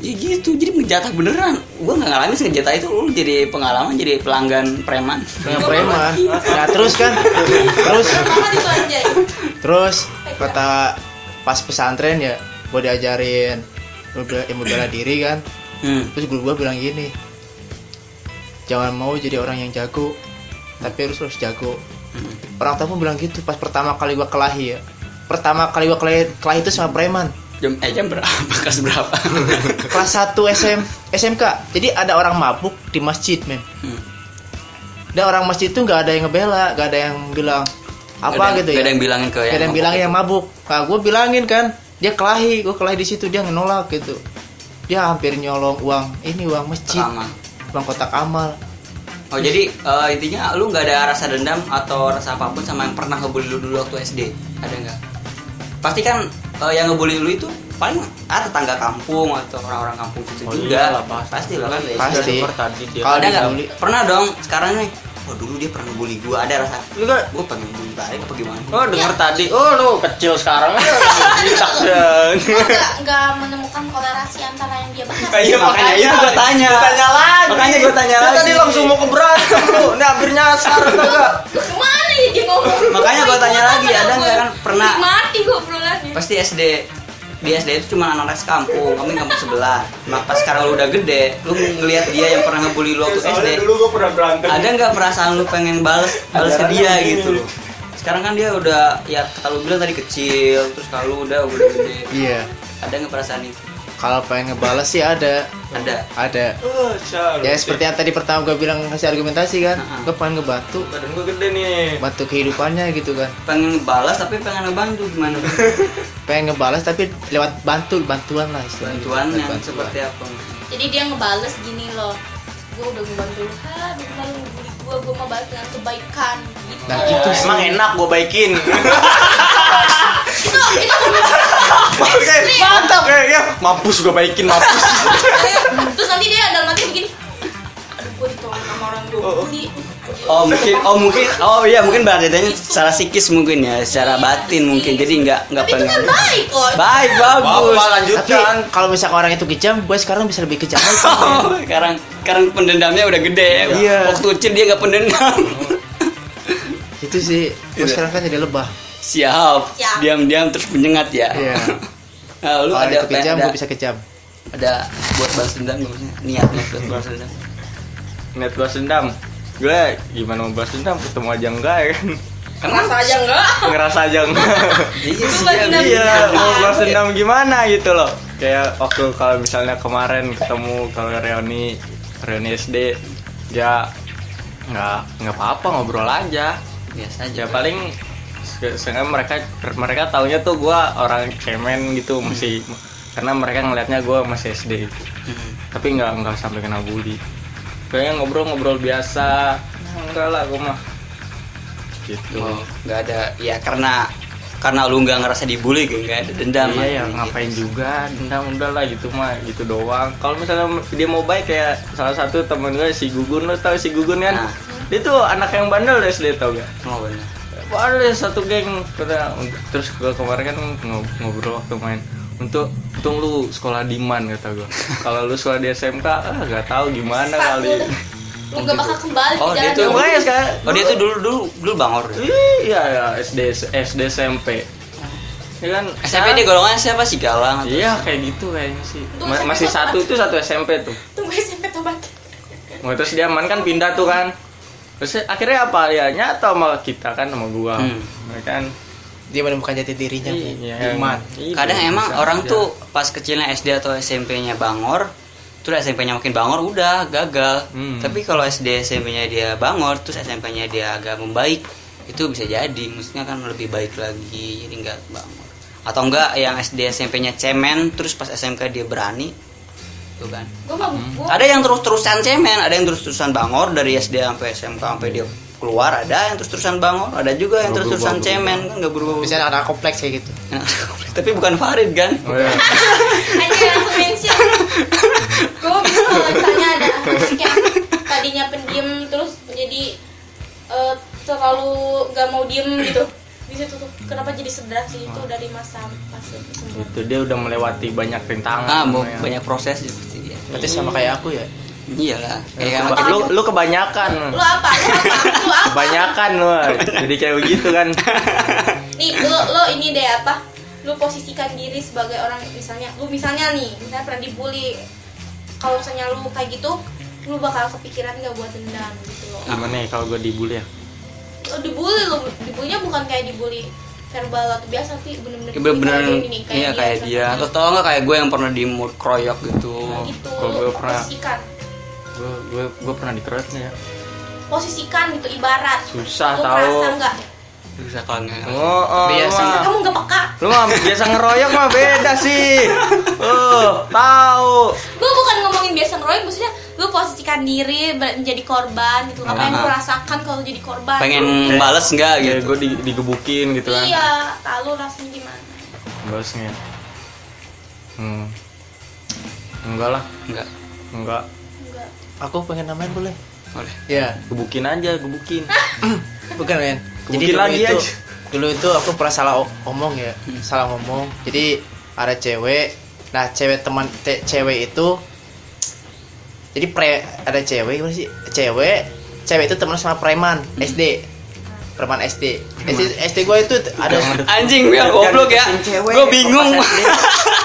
ya gitu jadi ngejatah beneran gue nggak ngalamin sih ngejatah itu lu jadi pengalaman jadi pelanggan preman Dengan preman Nah terus kan Terus banget itu anjay Terus Kata Pas pesantren ya Gue diajarin ilmu- Ilmu bela diri kan hmm. Terus guru gue bilang gini Jangan mau jadi orang yang jago Tapi harus harus jago hmm. Orang tua pun bilang gitu Pas pertama kali gue kelahi ya Pertama kali gue kelahi, kelahi itu sama preman jam eh jam berapa kelas berapa Kelas 1 SM, SMK Jadi ada orang mabuk di masjid men Hmm. Dan orang masjid itu nggak ada yang ngebela, nggak ada yang bilang apa Gak ada- gitu ya. gak ada yang bilangin ke Gak yang mabok ada yang bilangin itu. yang mabuk. Nah, gue bilangin kan, dia kelahi, gue kelahi di situ dia nolak gitu. Dia hampir nyolong uang, ini uang masjid, Pertama. uang kotak amal. Oh jadi eh, intinya lu nggak ada rasa dendam atau rasa apapun sama yang pernah ngebully lu dulu waktu SD ada nggak? Pasti kan eh, yang ngebully lu itu paling ah tetangga kampung atau orang-orang kampung situ Oh, juga iyalah, pasti. pasti lah kan Pasti. Tadi dia Kalau ada dibully, nggak? Pernah dong sekarang nih oh dulu dia pernah ngebully gue ada rasa Lu gak gue pengen bully balik apa gimana Oh denger tadi, oh lu kecil sekarang ya Jitak dan Gue nggak nggak menemukan kolerasi antara yang dia bahas. Iya makanya itu gue tanya Tanya lagi Makanya gua tanya Lu lagi. tadi langsung mau ke berantem lu Ini hampir nyasar tau gak Kemana ya dia ngomong? Makanya gua tanya lagi, ada nggak kan pernah- Mati gue obrolannya. pasti SD di SD itu cuma anak-anak sekampung kami kampung sebelah maka sekarang lu udah gede lu ngelihat dia yang pernah ngebully lu waktu SD gue pernah berantem ada nggak perasaan lu pengen bales bales ke dia gitu loh sekarang kan dia udah ya kalau bilang tadi kecil terus kalau udah udah gede Iya. ada nggak perasaan itu Kalau pengen ngebales sih ada. ada Ada. Oh, syar. Ya seperti yang tadi pertama gue bilang kasih argumentasi kan. Iya. Heeh. Gue pengen ngebantu Badan gue gede nih bantu kehidupannya gitu kan. pengen balas tapi pengen ngebantu gimana Pengen ngebales tapi lewat bantu bantuan lah istilahnya. bantuan yang Bantuan. seperti apa Jadi dia ngebales gini loh. Gue udah ngebantu lu, ha, lu malu ngebully gue, gue mau balas dengan kebaikan gitu. Nah, gitu sih. Emang enak gue baikin Itu itu Oke, mantap kayaknya Eh, iya. Mampus gue baikin, mampus terus nanti dia dalam hati begini. Aduh, gue ditolong sama orang gue bully. oh mungkin oh mungkin oh iya mungkin bahasanya secara psikis mungkin ya secara batin mungkin jadi nggak nggak Tapi itu kan pengen baik kok. baik bagus Bapak Tapi lanjutkan kalau misalkan orang itu kejam, gue sekarang bisa lebih kejam lagi. Oh, sekarang sekarang pendendamnya udah gede ya. Iya. Waktu kecil dia nggak pendendam. itu sih. Iya. Gue sekarang kan jadi lebah. Siap. Siap. Diam-diam terus menyengat ya. Iya. Nah, lu Kalau ada itu apa ya? kejam, ada, gue bisa kejam. ada buat balas dendam nggak maksudnya? Niat niat buat balas Iya. dendam. Net balas dendam Gue gimana mau balas dendam ketemu aja enggak ya kan Ngerasa aja enggak? Ngerasa aja enggak Iya, Itu balas dendam. Iya mau balas dendam gimana gitu loh Kayak waktu kalau misalnya kemarin ketemu kalau Reoni Reoni SD Dia nggak nggak ya apa-apa ngobrol aja Biasa aja. ya paling se- seenggaknya mereka mereka taunya tuh gua orang cemen gitu masih karena mereka ngelihatnya gua masih SD tapi nggak nggak sampai kena bully kayaknya ngobrol-ngobrol biasa enggak lah gua mah Nah. gitu Oh, nggak ada. Ya karena karena lu nggak ngerasa dibully gitu nggak ada dendam. iya ya Gitu. ngapain juga dendam udah lah gitu mah gitu doang kalau misalnya dia mau baik kayak salah satu temen gue si Gugun lo tau si Gugun kan Nah. dia tuh anak yang bandel dari SD tau gak Oh, bener. ada satu geng kata terus gue kemarin kan ngo- ngobrol waktu main untuk untung lu sekolah di man kata gue kalau lu sekolah di SMK ah gak tahu gimana kali Lu gak bakal kembali Oh, ke dia jalan tuh yang Makanya sekarang Oh dia tuh dulu dulu dulu bangor. iya ya SD SD SMP ya kan SMP di golongan siapa sih galang? atau- iya kayak gitu kayaknya sih Tuh, Ma- SMP masih tobat. satu itu satu SMP tuh Tunggu SMP tobat. Nah, terus dia man kan pindah tuh kan terus akhirnya apa ya nyata sama kita kan sama gua Hmm. Ya kan Dia menemukan jati dirinya. Iya, Iman. iya, Kadang emang bisa orang aja. tuh pas kecilnya SD atau SMP-nya bangor, terus SMP-nya makin bangor udah gagal. Hmm. Tapi kalau SD SMP-nya dia bangor, terus SMP-nya dia agak membaik, itu bisa jadi maksudnya kan lebih baik lagi, jadi nggak bangor. Atau enggak yang SD SMP-nya cemen, terus pas SMK dia berani, tuh kan. Gue mau gue Ada yang terus-terusan cemen, ada yang terus-terusan bangor dari SD sampai SMK sampai dia keluar, ada yang terus-terusan bangor, ada juga yang terus-terusan cemen kan nggak berubah. Nah, Misalnya anak kompleks kayak gitu. Tapi bukan Farid kan? Oh, iya. Anjir langsung mention Gue bingung kalau misalnya ada anak yang tadinya pendiam terus jadi eh, terlalu gak mau diem gitu di situ tuh kenapa jadi sederhasi itu dari masa masa itu itu dia udah melewati banyak rintangan Ah, mau namanya. banyak proses ya pasti dia. Berarti Iya. sama kayak aku ya. Iyalah. Kayak Keba- anak- lu lu kebanyakan lu apa lu apa lu apa kebanyakan lu jadi kayak begitu kan nih lu lu ini deh apa lu posisikan diri sebagai orang misalnya lu misalnya nih misalnya pernah dibully kalau misalnya lu kayak gitu lu bakal kepikiran gak buat dendam gitu loh gimana ya kalau gue dibully ya lo dibully lo dibulinya bukan kayak dibully verbal atau biasa tapi bener-bener kayak bener-bener dibully kayak gini, kayak iya kayak dia. Lo tau nggak kayak gue yang pernah di mood kroyok gitu. Nah, gitu Kalau gue lo pernah- posisikan gue gue gue pernah dikeroyok nih ya posisikan gitu ibarat susah lo tahu ngerasa nggak Bisa kalau nggak. oh, oh, Biasa. lu mah- kamu nggak peka lu mah biasa ngeroyok mah beda sih oh tahu gue bukan ngomongin biasa ngeroyok maksudnya lo posisikan diri ber- menjadi korban gitu apa yang Ah. lo rasakan kalau jadi korban Pengen bales nggak kayak gitu? gue Ya, di, digebukin gitu kan iya lalu rasanya gimana balasnya hmm. enggak lah Enggak. enggak enggak Aku pengen namain boleh. Boleh. ya gebukin aja gebukin bukan men jadi Mungkin dulu lagi itu aja. Hmm. dulu itu aku pernah salah o- omong ya salah ngomong jadi ada cewek nah cewek teman te- cewek itu jadi pre ada cewek gimana sih cewek cewek itu teman sama preman Hmm. SD preman SD SD, SD gue itu t- ada Anjing, Mel, goblok ya. Gue bingung.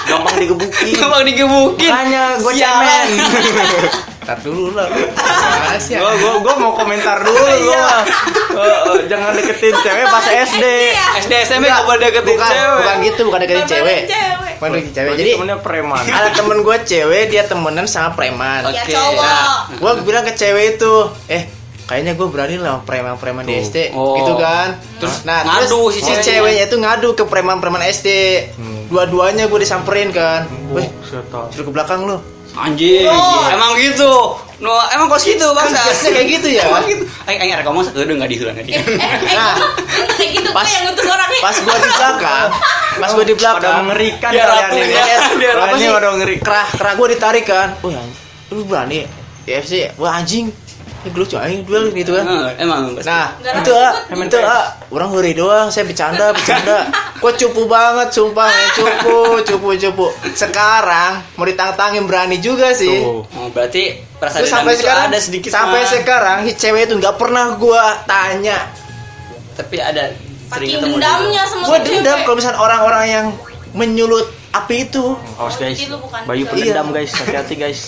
gampang digebukin Gampang digebukin. makanya gue cemen Sialan. ntar dulu lah lu. Rahasia. gua gua gua mau komentar dulu Iya. gua Eh, eh, jangan deketin cewek pas Eh, SD Iya. iya. SD SMP gak boleh deketin bukan cewek. bukan gitu bukan deketin cewek bukan deketin cewek jadi temennya preman ada temen gue cewek dia temenan sama preman Iya, Ya cowok. gue bilang ke cewek itu eh kayaknya gue berani lah sama preman-preman di SD Oh. gitu kan terus nah ngadu si terus si ceweknya. ceweknya itu ngadu ke preman-preman SD dua-duanya gue disamperin kan weh setan suruh ke belakang lu Anjing. Oh. Emang gitu. No, emang kos gitu, kan bangsa. biasanya kayak gitu ya Emang gitu. Aing aing rek ngomong sakeudeung enggak dihilang Eh, tadi. eh, eh, Nah. gitu, kayak gitu gue Pas- yang ngutus ya. orangnya. pas gue di belakang pas gue di pada belakang mengerikan Dia Kan kalian rapuh, ini ya. Dia Kalian rapuh ini sih. pada ngeri kerah kerah gue ditarik kan wah anjing, lu berani FC wah anjing ini gue anjing duel gitu kan Eh, Emang pasti. Nah, Nggak itu ah, rambut. itu ah, orang huri doang, saya bercanda, bercanda. Kok cupu banget, sumpah, ya. cupu, cupu, cupu. Sekarang mau ditantangin berani juga sih. Tuh. Oh, berarti perasaan Terus dendam sampai itu sekarang ada sedikit sampai mah. sekarang si cewek itu nggak pernah gua tanya. tapi ada sering Saking ketemu dendamnya sama Gua tuh dendam cewek. kalau misalnya orang-orang yang menyulut api itu, awas guys Berarti lu bukan Bayu cewek. Iya. pendendam guys hati-hati guys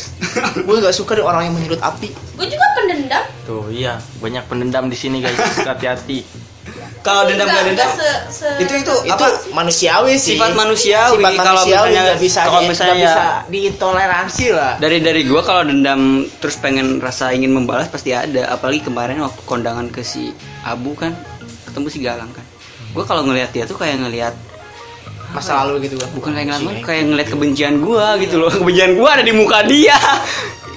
gua nggak suka deh orang yang menyulut api. Gue juga pendendam. tuh iya banyak pendendam di sini guys hati-hati juga. kalau dendam Nggak- nggak dendam nggak se- se- itu itu Itu apa manusiawi sih. Sifat manusiawi. Sifat Kalau manusiawi misalnya- nggak bisa, kalau di- misalnya- ya. nggak bisa diintoleransi lah. dari dari gua kalau dendam terus pengen rasa ingin membalas pasti ada apalagi kemarin waktu kondangan ke si Abu kan ketemu si Galang kan gua kalau ngelihat dia tuh kayak ngelihat Masa lalu gitu kan. bukan kayak ngelamun kayak ngelihat kebencian gua Iya. gitu loh kebencian gua ada di muka dia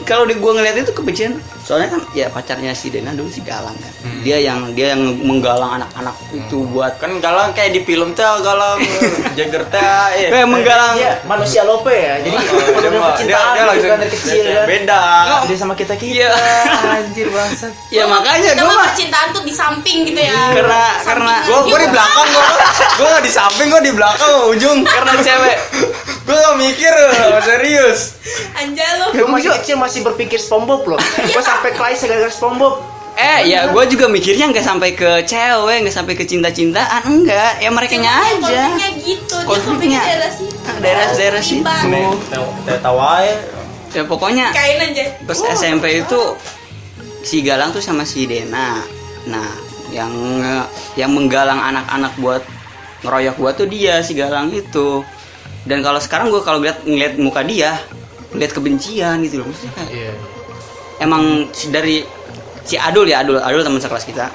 kalau di gua ngelihat itu kebencian soalnya kan ya pacarnya si Dena dulu si Galang kan Hmm. dia yang dia yang menggalang anak-anak itu buat kan galang kayak di film tuh galang Jagger teh iya. eh. kayak menggalang Oh, Dia Iya, manusia lope ya. Jadi eh, dia udah mah- dia dia percintaan gitu langsung kan dari kecil kan. beda Dia sama kita kita. Iya. Anjir bangsat. ya makanya Oh, Kita gua mah mah percintaan tuh di samping gitu ya. karena karena Sampingan gua gua di gitu. belakang gua gua nggak di samping gua di belakang ujung karena cewek gua nggak mikir loh, serius Anjay lu. Gue masih kecil masih berpikir SpongeBob loh. Gue sampai kelais gara-gara SpongeBob. Eh, ya gue juga mikirnya nggak sampai ke cewek, nggak sampai ke cinta-cintaan, enggak. Ya mereka Iya, aja. Iya, Konfliknya gitu. Dia sampai ke Konfliknya. daerah situ. Daerah-daerah situ. Tiba. tawa ya Ya pokoknya Kain aja. pas SMP itu si Galang tuh sama si Dena. Nah, yang eh, yang menggalang anak-anak buat ngeroyok gua tuh dia si Galang itu. Dan kalau sekarang gue kalau lihat ngeliat muka dia, ngeliat kebencian gitu loh. Maksudnya kayak, emang dari si Adul ya Adul Adul teman sekelas kita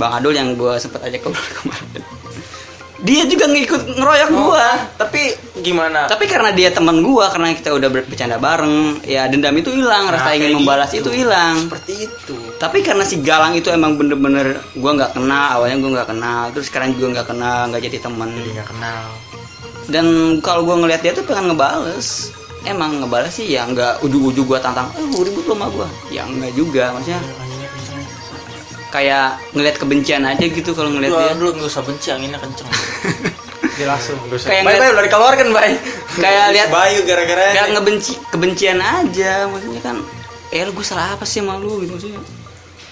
Bang Adul yang gue sempet ajak ke kemarin dia juga ngikut ngeroyok gua tapi gimana tapi karena dia teman gua karena kita udah ber- bercanda bareng ya dendam itu hilang rasa Nah, kayak ingin membalas itu hilang seperti itu tapi karena si Galang itu emang bener-bener gua nggak kenal awalnya gua nggak kenal terus sekarang juga nggak kenal nggak jadi teman nggak kenal dan kalau gua ngeliat dia tuh pengen ngebales emang ngebales sih ya nggak ujuk-ujuk gua tantang eh mau ribut lo sama gua ya nggak juga maksudnya Iya, gitu. kayak ngeliat kebencian aja gitu kalau ngeliat dia dulu nggak usah benci anginnya kenceng kayak baik ngeliat, baik udah dikeluarkan baik kayak lihat Bayu gara-gara kayak ngebenci kebencian aja maksudnya kan eh lu gue salah apa sih sama lu gitu maksudnya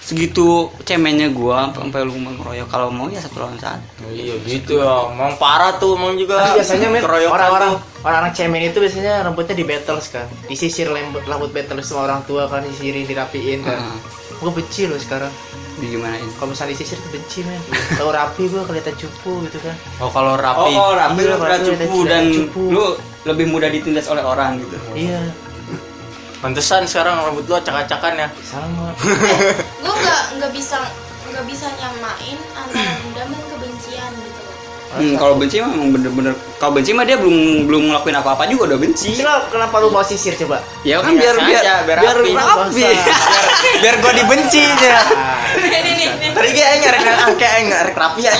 segitu cemennya gua sampai lu mau ngeroyok kalau mau ya satu lawan satu Iya gitu ya, emang parah tuh emang juga Tapi biasanya men Keroyokan orang-orang tuh. orang-orang cemen itu biasanya rambutnya di battles kan. Disisir lembut rambut battles sama orang tua kan disisirin Iya. dirapiin kan. Heeh. Gue benci loh sekarang. Nah, digimanain Kalau misalnya disisir tuh benci men. Kalau rapi gue kelihatan cupu gitu kan. Oh kalau rapi oh, oh rapi Iya, lu pernah rapi, cupu rapi, dan cupu. lu lebih mudah ditindas oleh orang gitu Iya, Pantesan sekarang rambut lu acak-acakan ya sama. Gue nggak nggak bisa nggak bisa nyamain antara dendam dan kebencian gitu. hmm, kalau benci mah emang bener-bener kalau benci mah dia belum belum ngelakuin apa-apa juga udah benci Gila, kenapa lu mau sisir coba? ya kan biar Biasa biar aja, biar Iya, biar rapi, rapi. Biar gua dibenci ya Ini nih nih. Tadi kayak aing ngarek kayak aing ngarek rapi ya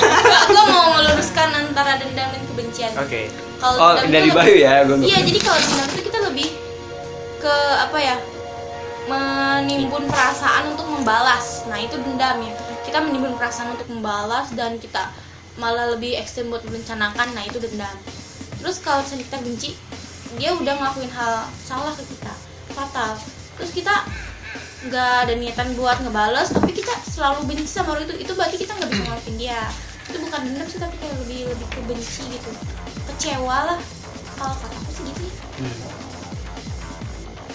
Gue mau meluruskan antara dendam dan kebencian. Oke Kalau oh dendam tuh dari lebih- Bayu ya gua Iya, jadi kalau dendam itu kita lebih ke apa ya? menimbun perasaan untuk membalas. Nah, itu dendam ya. Kita menimbun perasaan untuk membalas dan kita malah lebih ekstrem buat merencanakan. Nah, itu dendam. Terus kalau misalnya kita benci, dia udah ngelakuin hal salah ke kita, fatal. Terus kita nggak ada niatan buat ngebales, tapi kita selalu benci sama orang itu. Itu berarti kita nggak bisa ngelakuin dia. Itu bukan dendam sih, tapi kayak lebih lebih ke benci gitu. Kecewa lah. Kalau kataku sih gitu ya.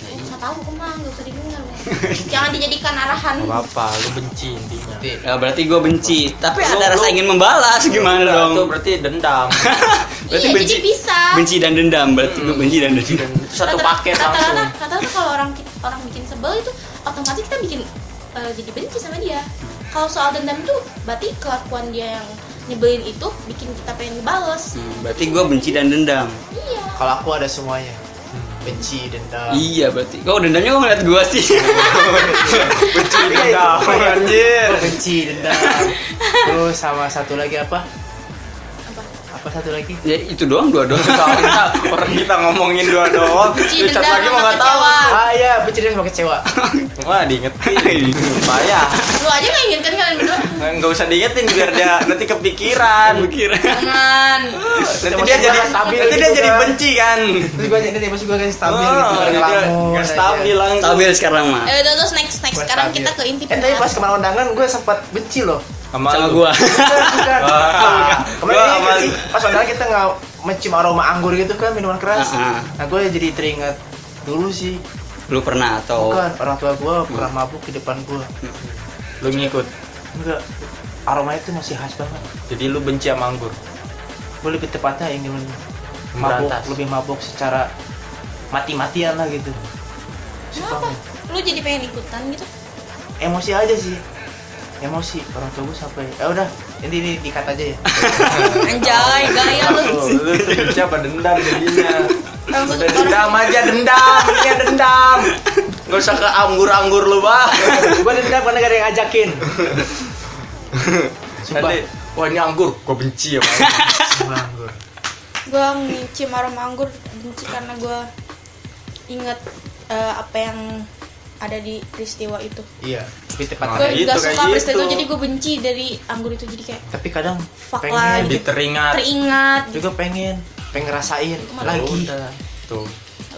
Eh, Nggak tahu aku mah nggak usah didengar. Mas. Jangan dijadikan arahan. apa-apa lu benci intinya Ya, berarti gue benci, tapi Lu- ada rasa lu- ingin membalas gimana Enggak, itu dong? berarti dendam Berarti iya, benci, jadi bisa. benci dan dendam, berarti gue benci dan dendam. Itu satu Rata- paket rata-rata- langsung Rata-rata kalau orang ki- orang bikin sebel itu otomatis kita bikin eh, jadi benci sama dia. Kalau soal dendam itu berarti kelakuan dia yang nyebelin itu bikin kita pengen dibales. Hmm, berarti gue benci dan dendam. Iya. Kalau aku ada semuanya. Benci, dendam. Iya berarti. Kok dendamnya kok ngeliat gue sih? Iya, benci dendam. Gua benci, dendam. Terus sama satu lagi apa? Apa? Apa satu lagi? Ya itu doang dua doang. orang kita ngomongin dua doang Benci, dicat dendam, lagi mau sama nggak tahu kecewa. Ah ya, benci dan sama kecewa. wah diingetin payah Lu aja nggak inget kan kalian berdua? nggak usah diingetin biar dia nanti kepikiran Jangan. nanti Iya, dia jadi Stabil nanti dia gitu jadi kan. benci kan Terus gue ini masih gue kasih stabil Oh, gitu. jadi dia ngelamun nggak aja. stabil langsung Stabil sekarang mah. Eh udah terus next next. Gua Sekarang stabil. kita ke inti Eh tapi pas pembahasan. kemarin undangan gue sempat benci loh. sama Sama lu. gue. Bukan, bukan. Wah. Ah, Kemarin Gua ini kan aman. sih, pas undangan kita nggak mencium aroma anggur gitu kan minuman keras. Ah, ah. Nah gue jadi teringat dulu sih. Lu pernah atau? Bukan orang tua gue pernah mabuk di depan gue. lu ngikut Enggak. Aromanya itu masih khas banget. jadi lu benci sama anggur Gue lebih tepatnya ingin mabuk, Memberantas. lebih mabuk secara mati-matian lah gitu. Suka Kenapa? Lu jadi pengen ikutan gitu? emosi aja sih emosi orang tua gue sampai ya udah ini ini dikat aja ya Anjay, gaya lu. Tuh, lu tuh benci apa dendam jadinya Langsung udah dendam aja dendam ya dendam nggak usah ke anggur-anggur lu bah gue dendam karena gak ada yang ngajakin sumpah nanti wah ini anggur gua benci ya sumpah gue gue ngicium aroma anggur benci karena gue inget eh, apa yang ada di peristiwa itu iya tapi tepat Nah, gue gitu, nggak suka kayak peristiwa itu gitu. jadi gue benci dari anggur itu jadi kayak tapi kadang Fuck lah, pengen gitu. diteringat teringat gitu. juga pengen pengen ngerasain Malu. lagi Ya tuh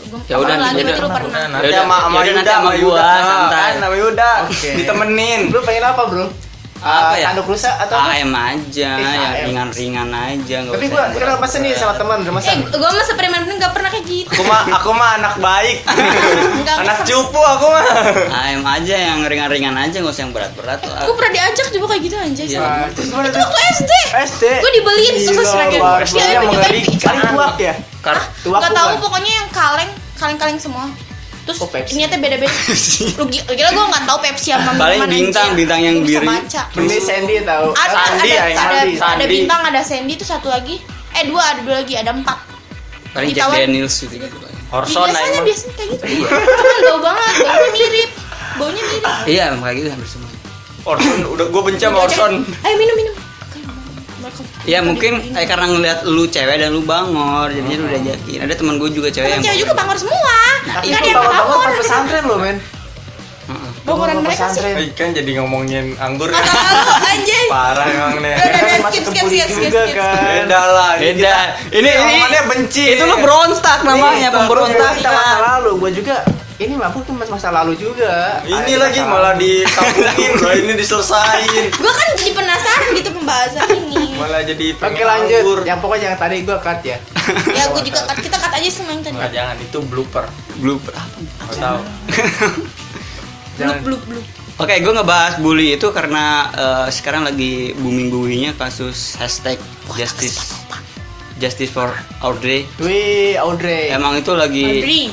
Gua- Ya udah, apalagi ya udah. waktu itu lu Nah, pernah nanti Yaudah, sama sama yaudah, nanti Yuda, sama sama gua, Yuda, santai. kan, sama Yuda, Oke. ditemenin. lu pengen apa bro Apa ya? tanduk rusak atau apa? AM aja, Eh, ya AM. ringan-ringan aja. nggak tapi usah gue yang kenapa pesen nih sama teman udah eh pesan gue mah sepreman pun nggak pernah kayak gitu Aku mah aku mah anak baik. Enggak, anak cupu aku mah. AM aja yang ringan-ringan aja nggak usah yang berat-berat lah. gue pernah diajak juga kayak gitu anjay Iya. sama- Wah, terus gimana itu tuh waktu SD SD gue dibeliin susah Gila, seragam wah, yang Gila, itu kan mengerikan tuak ya Tuak Gak kan. tahu bukan? pokoknya yang kaleng, kaleng-kaleng semua. Terus Oh, Pepsi. niatnya beda-beda. Rugi. Gila gue nggak tahu Pepsi sama Paling minuman, bintang, anjir. bintang yang Gua bisa biri. Baca. Ini Sandy tahu. Ada, Sandi ada, ya, yang ada, Sandi. ada Sandi. bintang, ada Sandy, itu satu lagi. Eh dua, ada dua lagi, ada empat. Paling Jack Ditawan. Daniels gitu gitu. lah. Horson biasanya aing. biasanya kayak gitu. Cuman bau banget, baunya mirip, baunya mirip. Iya, emang kayak gitu hampir semua. Orson udah gue benci Iya, sama Orson. Ayo minum minum. Ya mungkin eh, karena ngeliat lu cewek dan lu bangor, jadinya lu diajakin. Ada teman gue juga cewek yang Temen Nah, cewek juga bangor semua. Tapi Gak itu ada yang bangun bangor. bangun pesantren loh men. Heeh. Bangunan Bangun-bangun mereka sih. pesantren. Eh, kan jadi ngomongin anggur. kan Masalah lu, anjay. Parah emang nih. Udah, udah, udah, Masuk skip, ke skip, bully skip, skip, juga, skip. kan. Beda lah. ini Beda. kita- Ini ini omongannya benci. Itu lu berontak namanya, Iya, pemberontak. Kita masa lalu, gue juga ini mabuk tuh masa lalu juga. Ini Ada lagi masa malah lalu. dikampungin loh, ini diselesain. Gue kan jadi penasaran gitu pembahasan ini. Malah jadi pengen Oke lanjut, anggur. yang pokoknya yang tadi gue cut ya. ya gue juga cut, kita cut aja semua yang tadi Nggak, jangan itu blooper. Blooper. Nggak tahu. blub Jangan. blub blub Oke, gue ngebahas bully itu karena eh, sekarang lagi booming boomingnya kasus hashtag justice justice for Audrey. Wih, Audrey. Emang itu lagi Audrey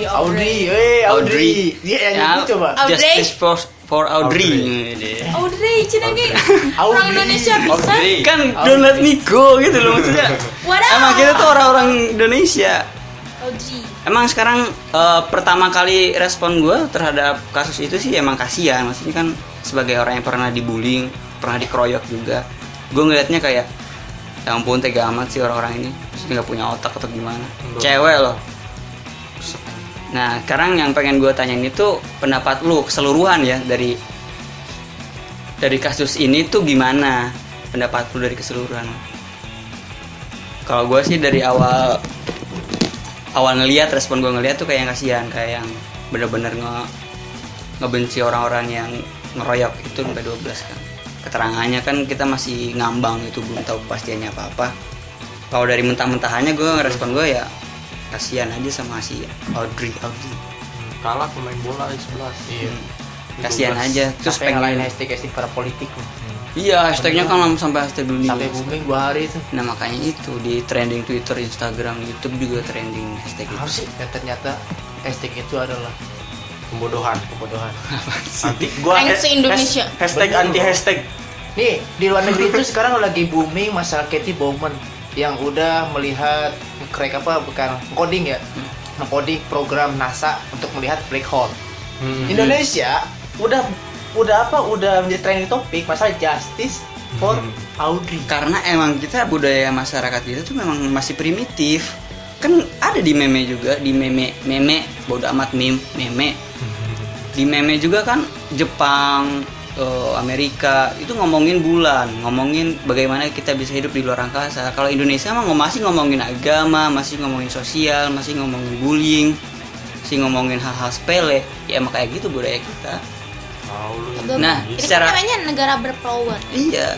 Audrey, Audrey wih, Audrey. Audrey. Dia yang Ya, itu coba. justice for for Audrey. Audrey Cina ge orang Audrey. Indonesia bisa Audrey. Kan don't let me go gitu loh maksudnya. Wadah. Emang kita gitu tuh orang-orang Indonesia. Audrey Emang sekarang eh, pertama kali respon gue terhadap kasus itu sih emang kasihan. Maksudnya kan sebagai orang yang pernah dibullying, pernah dikeroyok juga, gue ngelihatnya kayak, ya ampun tega amat sih orang-orang ini. Maksudnya nggak punya otak atau gimana. Cewek loh. Nah, sekarang yang pengen gue tanyain itu pendapat lu keseluruhan ya dari dari kasus ini tuh gimana pendapat lu dari keseluruhan? Kalau gue sih dari awal awal ngelihat respon gue ngelihat tuh kayak yang kasihan kayak yang bener-bener nge ngebenci orang-orang yang ngeroyok itu sampai 12 kan keterangannya kan kita masih ngambang itu belum tahu kepastiannya apa apa kalau dari mentah-mentahannya gue ngerespon gue ya kasihan aja sama si Audrey Audrey Kalah pemain bola 11. Iya. kasihan aja terus Sampai ngalahin pengen hashtag hashtag para politik loh. iya hashtagnya kan lam- sampai hashtag dunia Sampai booming dua hari itu. nah makanya itu di trending Twitter Instagram YouTube juga trending hashtag itu Harus sih. Ya ternyata hashtag itu adalah Pembodohan. kebodohan. Nanti gua Thanks to Indonesia. has- hashtag anti hashtag. Nih di luar negeri itu sekarang lagi booming masalah Katie Bowman yang udah melihat crack apa bukan coding ya mengcoding program NASA untuk melihat black hole. Hmm. Indonesia udah udah apa udah menjadi trending topik masalah justice for Hmm. Audrey. karena emang kita budaya masyarakat kita tuh memang masih primitif kan ada di meme juga di meme meme bodo amat meme meme di meme juga kan Jepang eh, Amerika itu ngomongin bulan ngomongin bagaimana kita bisa hidup di luar angkasa kalau Indonesia mah ngom- masih ngomongin agama masih ngomongin sosial masih ngomongin bullying masih ngomongin hal-hal sepele ya emang kayak gitu budaya kita nah Ini kan secara namanya negara berpower. Iya,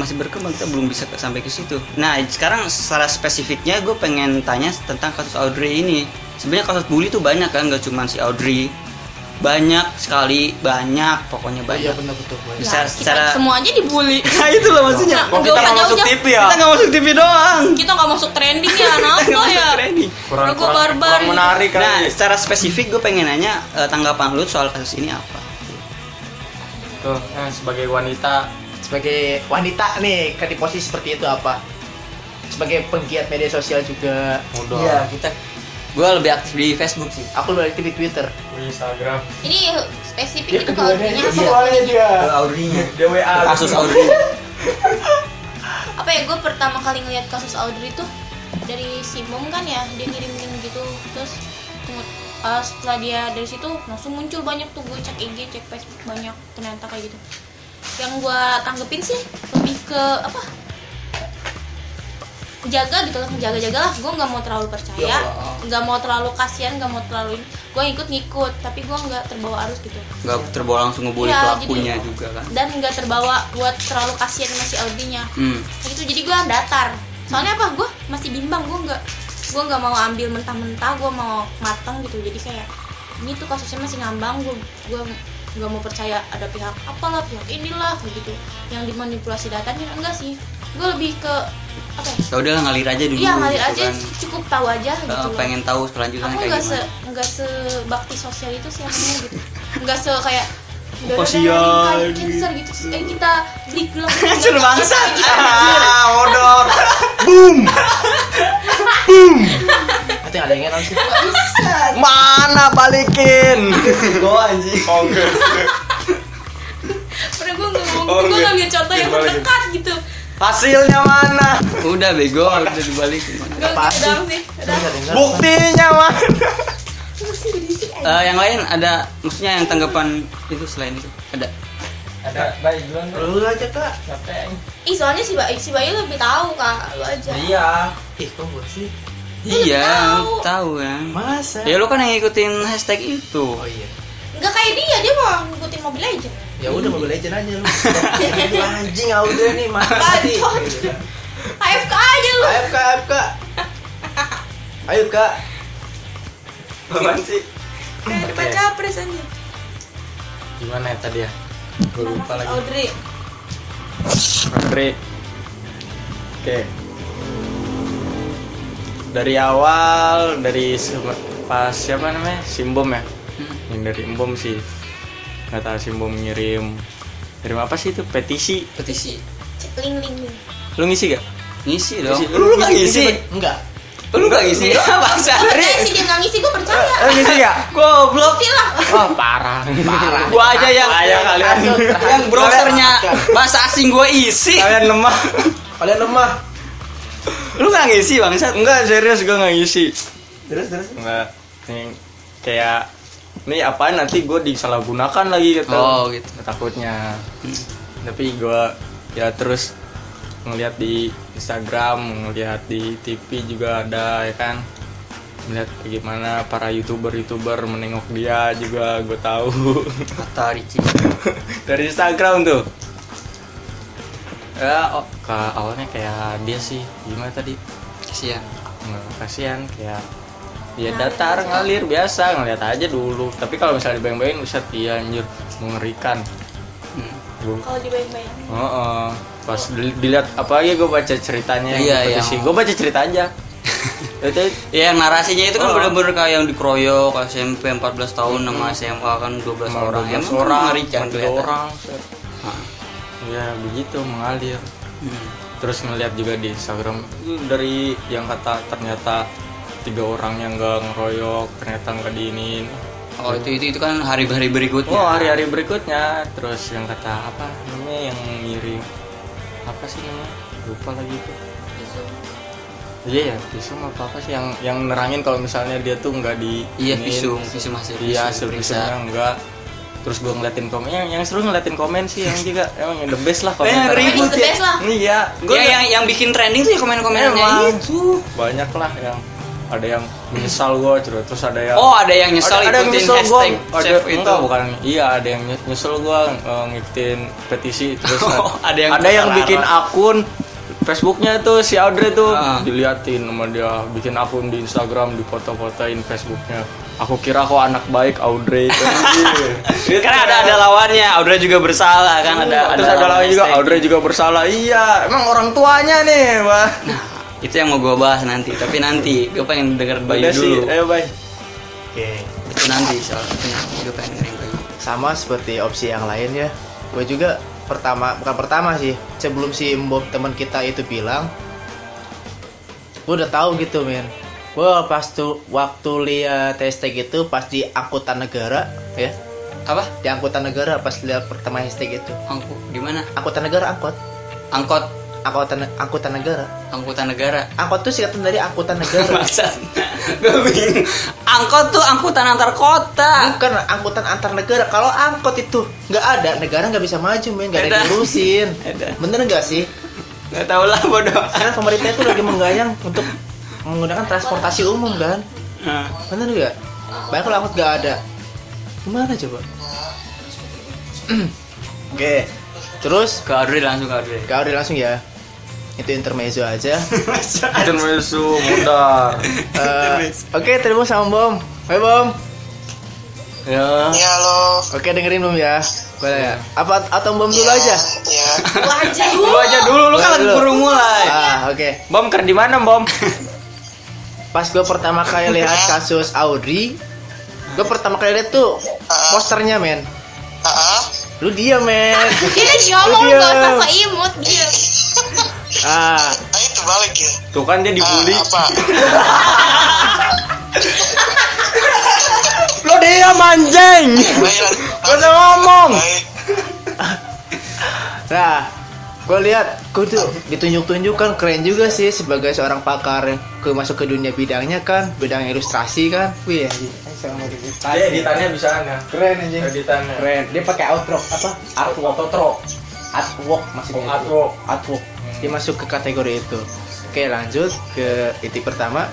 masih berkembang kita belum bisa ke- sampai ke situ. Nah, sekarang secara spesifiknya gue pengen tanya tentang kasus Audrey ini. Sebenarnya kasus bully tuh banyak kan, gak cuma si Audrey. Banyak sekali, banyak, pokoknya Iya banyak. benar betul. Bu. Bisa Lah, Ya, Nah, kita secara semua aja dibully. Nah, itu loh maksudnya. Nggak- nggak usah jauh-jauh. Kita nggak masuk TV doang. Kita nggak masuk trending ya, kenapa Nggak ya? masuk trending. Kurang, kurang, barbar. kurang menarik kali. Nah, secara spesifik gue pengen nanya eh, tanggapan lu soal kasus ini apa? Tuh, eh, sebagai wanita Sebagai wanita nih ke di posisi seperti itu apa? Sebagai penggiat media sosial juga. Udah. Iya, kita gue lebih aktif di Facebook sih. Aku berarti di Twitter. Instagram. Ini spesifik itu kalau dunia Soalnya dia. Audrey-nya. Dia WA. Ah, Kasus gitu. Audrey. apa ya gue pertama kali ngeliat kasus Audrey tuh dari si Bom kan ya dia ngirim link gitu terus tunggu- eh, setelah dia dari situ langsung muncul banyak tuh gue cek IG cek Facebook banyak ternyata kayak gitu yang gue tanggepin sih lebih ke apa jaga gitu lah jaga jaga lah gue nggak mau terlalu percaya nggak mau terlalu kasihan nggak mau terlalu ini. gue ikut ngikut tapi gue nggak terbawa arus gitu nggak terbawa langsung ngebully Iya, pelakunya jadi- juga kan dan nggak terbawa buat terlalu kasihan sama si Audrey-nya hmm. Kayak gitu jadi gue datar soalnya apa gue masih bimbang gue nggak gue nggak mau ambil mentah-mentah gue mau matang gitu jadi kayak ini tuh kasusnya masih ngambang gue gue nggak mau percaya ada pihak apalah pihak inilah begitu yang dimanipulasi datanya enggak sih gue lebih ke apa ya ya udahlah ngalir aja dulu iya ngalir gitu aja kan. cukup tahu aja Eh, gitu loh. pengen tahu aku kelanjutannya kayak nggak se gimana nggak sebakti sosial itu sih akhirnya gitu nggak se kayak "Udah, udah, udah, Sosial, nikah, cancer gitu eh kita beli gelap Hancur bangsat. Ah, odor. Atau yang ada yang ngerti sih. Mana balikin? gue anjing Oke. Padahal gue nggak ngomong, Oh, gue iya. ngambil contoh yang Gimana gitu? terdekat gitu Hasilnya mana? udah bego udah dibalik Gak Apa gitu doang sih Udah. Ada yang ngerti. Buktinya mana? Eh, yang lain ada maksudnya yang tanggapan itu selain itu ada Ada baik duluan Lu aja kak. capek. Ih soalnya si Bayu, si Bayu lebih tahu kak, lu aja Iya. Ih kok gue sih. iya tahu. tahu ya Masa? ya lu kan yang ngikutin hashtag itu Oh iya. Gak kayak dia, dia mau ngikutin mobil aja Ya udah Mobile Legend aja lu. Lu Anjing Audrey nih mati. Bacot AFK aja lu iya. Ayo kak, ayo kak. Ayo kak. Apaan sih? Kayak depan capres aja Gimana ya tadi ya? Gue lupa lagi. Audrey Andre. Oke. Dari awal dari sem- pas siapa namanya? Simbom ya. Yang dari Embom sih. Nggak tahu Simbom ngirim ngirim apa sih itu petisi? petisi Cek link link link Lu ngisi gak? ngisi dong Ngisi. lu lu gak ngisi Enggak. lu gak ngisi bangsa Percaya sih dia gak ngisi, gue percaya Lu Eh, ngisi gak? goblok Ngisi lah Wah, parah. Parah. gua aja yang Ayah kalian. yang browsernya bahasa asing gua isi Kalian lemah. Kalian lemah. lu gak ngisi bangsa Enggak serius gue nggak ngisi. Terus terus. Enggak. Nih, kayak ini apaan nanti gue disalahgunakan lagi gitu Oh, gitu. takutnya tapi gue ya terus ngelihat di Instagram ngelihat di TV juga ada ya kan melihat bagaimana para youtuber youtuber menengok dia juga gue tahu kata Ricci dari Instagram tuh ya oh, ke awalnya kayak dia sih gimana tadi kasihan Nggak, kasihan kayak dia datar ngalir biasa ngeliat aja dulu tapi kalau misalnya dibayang-bayangin uset iya anjir mengerikan Hmm. Gua- Kalau dibayang-bayang. Heeh. pas dili- dilihat apa ya gue baca ceritanya Iya, iya. gue baca cerita aja itu Iya narasinya itu kan Oh. Hmm. bener-bener kayak yang dikeroyok SMP 14 tahun sama SMA kan 12 orang. orang Emang orang mengerikan mati kelihatan. orang Hah. ya begitu mengalir Hmm. terus ngeliat juga di Instagram itu dari yang kata ternyata tiga orang yang nggak ngeroyok ternyata nggak diinin Oh itu itu itu kan hari-hari berikutnya. oh hari-hari berikutnya terus yang kata apa namanya yang ngirim apa sih namanya lupa lagi itu iya ya visum apa apa sih yang yang nerangin kalau misalnya dia tuh nggak di Iya iniin. visum visum hasil iya visum, hasil periksa. visumnya enggak terus gue ngeliatin komen yang, yang seru ngeliatin komen sih yang juga emang yang the best lah Eh, komentar Ribut ribut the ya. best lah. iya Iya yang yang bikin trending tuh ya komen-komennya Emang. itu. banyak lah yang ada yang menyesal gue terus ada yang Oh ada yang nyesel ikutin hashtag gua, ada, chef itu. enggak, bukan iya ada yang nye- nyesel gue ngikutin petisi terus Oh, ada yang ada yang terlarang. bikin akun Facebooknya tuh si Audrey tuh Ah. diliatin sama dia bikin akun di Instagram dipoto-fotoin Facebooknya aku kira kok anak baik Audrey itu Karena ada ada lawannya. Audrey juga bersalah kan ada Iya. terus ada lagi juga hashtag. Audrey juga bersalah iya emang orang tuanya nih wah Itu yang mau gue bahas nanti. Tapi nanti gue pengen denger Bayu Udah sih, eh. dulu. ayo bye Itu nanti soalnya gue pengen dengerin Bayu. sama seperti opsi yang lain ya gue juga pertama bukan pertama sih sebelum si Mbok teman kita itu bilang gue udah tahu gitu men gue pas tuh waktu lihat hashtag itu pas di angkutan negara ya Apa? di angkutan negara pas lihat pertama hashtag itu Angkut gimana? angkutan negara angkot Angkot angkutan angkutan negara angkutan negara. angkot tuh singkatan dari angkutan negara Maksud gue bingung. Angkot tuh angkutan antar kota. bukan angkutan antar negara kalau angkot itu nggak ada negara nggak bisa maju men nggak ada yang Ada. ngurusin Ada. bener nggak sih Gak tau lah bodoh. sekarang pemerintah itu lagi menggayang untuk menggunakan transportasi umum kan Nah, bener nggak banyak kalau angkot nggak ada gimana coba oke terus Ke Audrey langsung ke Audrey. kau udah langsung ya itu intermezzo aja Intermezzo mudar Eh, oke terima kasih sama bom Hai bom ya Ya halo. oke dengerin bom ya boleh ya apa atau bom dulu aja Ya. Wajah Lu aja dulu, lu kan Boleh lagi dulu. baru mulai. ah oke bom kerja di mana bom pas gue pertama kali lihat kasus Audrey gue pertama kali lihat tuh posternya men Ah, lu dia men Ini Ah, diomong Iya. gak usah so imut dia. ah ah, itu balik ya. tuh kan dia Ah, dibully apa? Lo diam anjing. Baik. Gua udah ngomong. Baik. nah gue lihat gue tuh ditunjuk-tunjukkan keren juga sih sebagai seorang pakar yang ke masuk ke dunia bidangnya kan bidang ilustrasi kan wih anjing. Tadi editannya bisa ya. keren anjing Editannya. keren dia pakai outro apa artwork artwork maksudnya Oh, artwork. artwork dia masuk ke kategori itu oke lanjut ke titik pertama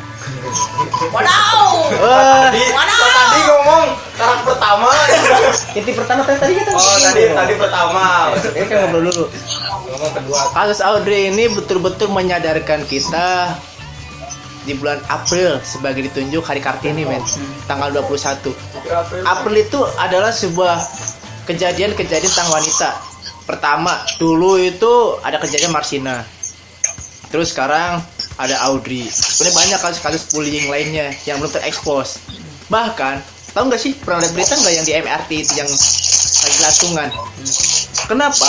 Wadaw. wah Wadaw. Tadi ngomong taraf pertama. titik pertama tadi tadi kita Oh, ngomongin tadi dong. tadi pertama. Ini kan ngobrol dulu. Kasus Audrey ini betul-betul menyadarkan kita di bulan April sebagai ditunjuk Hari Kartini men tanggal 21 Oh. April itu adalah sebuah kejadian-kejadian tentang wanita pertama dulu itu ada kejadian Marsina terus sekarang ada Audrey sebenarnya banyak kasus-kasus bullying lainnya yang belum terekspos bahkan tahu nggak sih pernah lihat berita nggak yang di MRT itu yang lagi latungan kenapa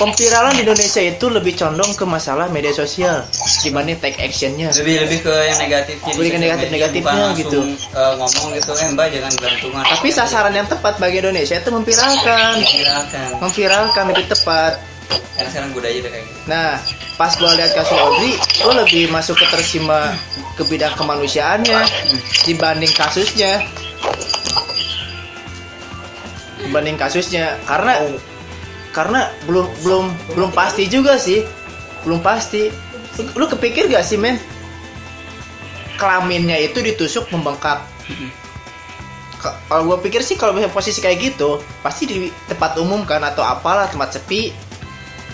pemviralan di Indonesia itu lebih condong ke masalah media sosial dibanding take actionnya Lebih lebih ke yang negatifnya. di Lebih ke sosial negatif- media, negatifnya bukan langsung, gitu. eh, ngomong gitu, eh mbak jangan gelantungan. tapi sasaran yang tepat bagi Indonesia itu memviralkan Silakan. memviralkan lebih tepat Karena sekarang budaya udah kayak gitu. Nah, pas gua lihat kasus Audrey, gua lebih masuk ke tersima ke bidang kemanusiaannya dibanding kasusnya. dibanding kasusnya karena karena belum belum belum pasti juga sih belum pasti lu, lu kepikir gak sih men kelaminnya itu ditusuk membengkak Ke- kalau gue pikir sih kalau misalnya posisi kayak gitu pasti di tempat umum kan atau apalah tempat sepi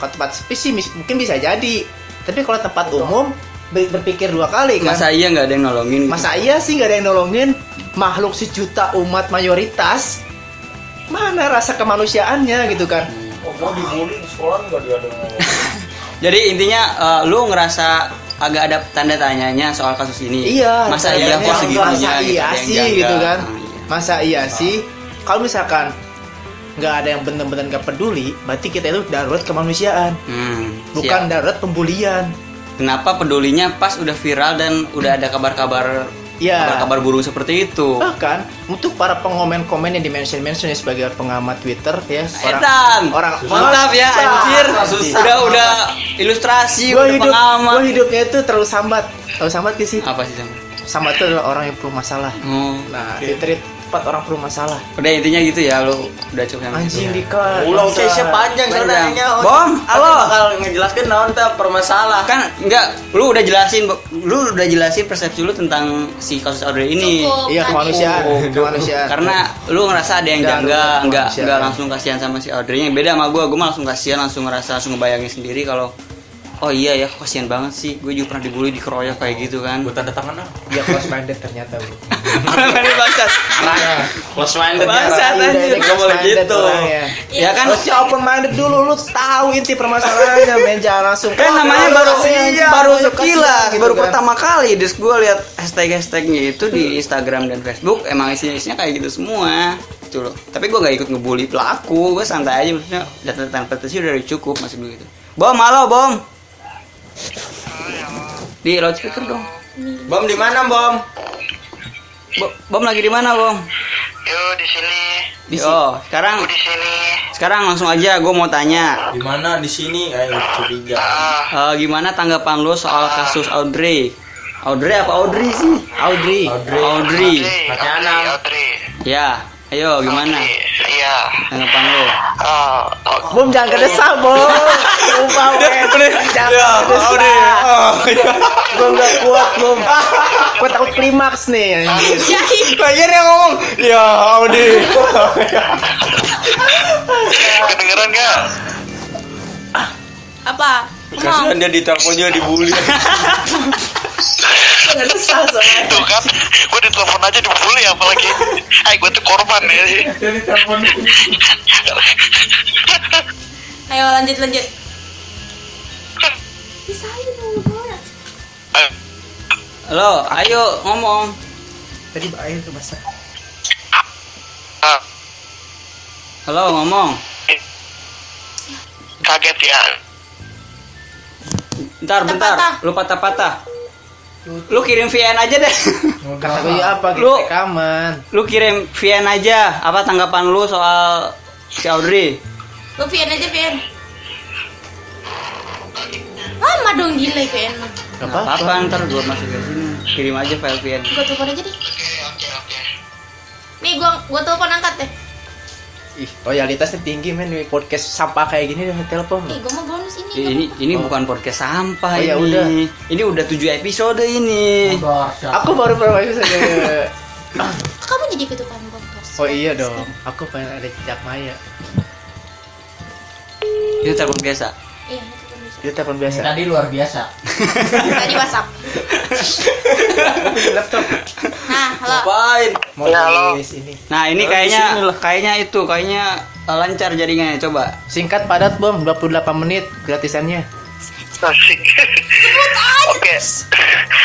kalau tempat sepi sih mis- mungkin bisa jadi tapi kalau tempat umum ber- berpikir dua kali kan masa iya nggak ada yang nolongin gitu? Masa iya sih nggak ada yang nolongin makhluk sejuta umat mayoritas? Mana rasa kemanusiaannya gitu kan? Oh, gua dibully di sekolah nggak dia ada jadi intinya eh, lu ngerasa agak ada tanda tanyanya soal kasus ini Iya. masa tanda iya kok tanya, segitunya Masa gitu, iya ada yang sih janggal. gitu kan? Ah, iya. Masa iya sih? Kalau misalkan nggak ada yang benar-benar nggak peduli, berarti kita itu darurat kemanusiaan, Hmm, bukan siap. darurat pembulian. kenapa pedulinya pas udah viral dan udah ada kabar-kabar Iya. Oh. kabar-kabar burung seperti itu Bahkan untuk para pengomen-komen yang dimention-mention ya sebagai pengamat Twitter ya, orang Setan. orang Mantap ya Wah, anjir. susah. Udah udah ilustrasi udah Gua hidup, pengamat. gua hidupnya itu terlalu sambat, terlalu sambat gak sih? Apa sih sama? sama itu adalah orang yang perlu masalah Oh. nah Twitter itu tempat orang perlu masalah Udah intinya gitu ya lu udah cukup sama anjing itu. Dika Ulang bangsa. tesnya panjang Panjang. soalnya. Bom, halo. Bakal ngejelaskan naon teh permasalah. Kan enggak lu udah jelasin lu udah jelasin persepsi lu tentang si kasus Audrey ini. Cukup. kan? iya kemanusiaan kemanusiaan Oh, Karena Iya, lu ngerasa ada yang Enggak, janggal, enggak, enggak manusia. enggak langsung kasihan sama si Audrey-nya. Beda sama gua, gua mah langsung kasihan, langsung ngerasa langsung ngebayangin sendiri kalau Oh iya ya, kasihan banget sih. Gue juga pernah dibully, dikeroyok kayak gitu kan. Gua tanda tangan ah. dia close minded ternyata bro Bangsat. Close minded Bangsat anjir. iya, Dia Gak boleh close-minded gitu. orangnya. Ya kan harusnya open minded dulu lu tahu inti permasalahannya men jangan langsung kan Iya, namanya baru baru sekilas baru pertama pertama kali dis gue lihat hashtag hashtagnya itu di Instagram dan Facebook emang isinya isinya kayak gitu semua gitu loh tapi gue gak ikut ngebully pelaku gue santai aja maksudnya data tanpa petisi udah cukup masih begitu bom halo bom di loudspeaker dong Bom di mana, Bom? Bo- bom lagi di mana bom Yuk di sini, oh sekarang di sini. sekarang langsung aja gue mau tanya Di mana di sini? Eh, gua curiga. Ah, eh, gimana tanggapan lo soal kasus Audrey Audrey apa Audrey sih Audrey Audrey Audrey, Pakai Audrey, anak. Audrey. ya ayo gimana Audrey, Iya. tanggapan lo Ah, oh, Bom jangan Iya. kedesal Bom Sumpah men Ya, Jangan kedesal Bom gak kuat Bom Gue takut klimaks nih anjir. Lagian yang ngomong, ya Audi. Nah. kedengeran gak? Apa? Ngomong. Kasihan dia ditelepon juga dibully. Tuh kan, gue ditelepon aja dibully apalagi. Hai, gue tuh korban ya sih. Ayo lanjut lanjut. Eh, Lo, ayo ngomong. Tadi air tuh basah ah, Halo, ngomong. Kaget ya. Bentar, bentar. Patah-patah. Lu patah-patah. Lu kirim VN aja deh. Kata gue apa gitu Lu- rekaman Lu kirim VN aja. Apa tanggapan lu soal si Audrey? Lu Vian aja Vian. Lama dong gila Vian mah. Gak Nggak apa-apa apa-apa, ntar gua masukin ke sini. Kirim aja file VN. Gua telepon aja deh. Nih gua gua telepon angkat deh. Ih, loyalitasnya tinggi men di podcast sampah kayak gini udah telepon. Nih gua mau bonus ini. Eh, Ini ini bukan podcast sampah Oh, ya ini. udah. Ini udah 7 episode ini. Aku baru pernah saja. Kamu jadi ketukan kompos. Oh iya dong, aku pengen ada jejak Maya. Itu telepon biasa. Iya, ini ketukan biasa. Dia telepon biasa. Tadi Tadi WhatsApp. laptop. Nah, halo. Ngapain? Mau Ya, halo. nulis ini. Nah, ini kayaknya kayaknya itu kayaknya eh, lancar jaringannya coba. Singkat padat bom, 28 menit gratisannya. Asik. Oke.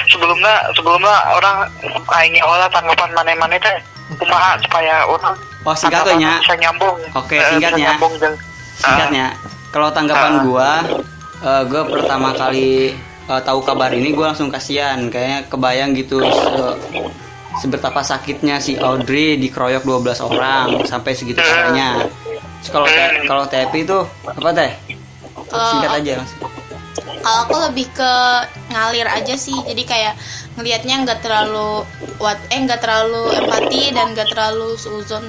Sebelumnya, sebelumnya orang ingin olah tanggapan mana-mana teh. Kumaha supaya orang Oh, singkat tuh, Nya. tanggapan bisa nyambung. Oke, Eh, bisa singkatnya. nyambung jeung- singkatnya kalau tanggapan Ah. gua eh, gua pertama kali eh, tahu kabar ini gua langsung kasihan kayaknya kebayang gitu se- seberapa sakitnya si Audrey dikeroyok 12 orang sampai segitu caranya Terus kalau te- kalau TP itu apa teh Eh, singkat aja langsung Kalau aku lebih ke ngalir aja sih. Jadi kayak ngelihatnya nggak terlalu what eh nggak terlalu empati dan nggak terlalu suzon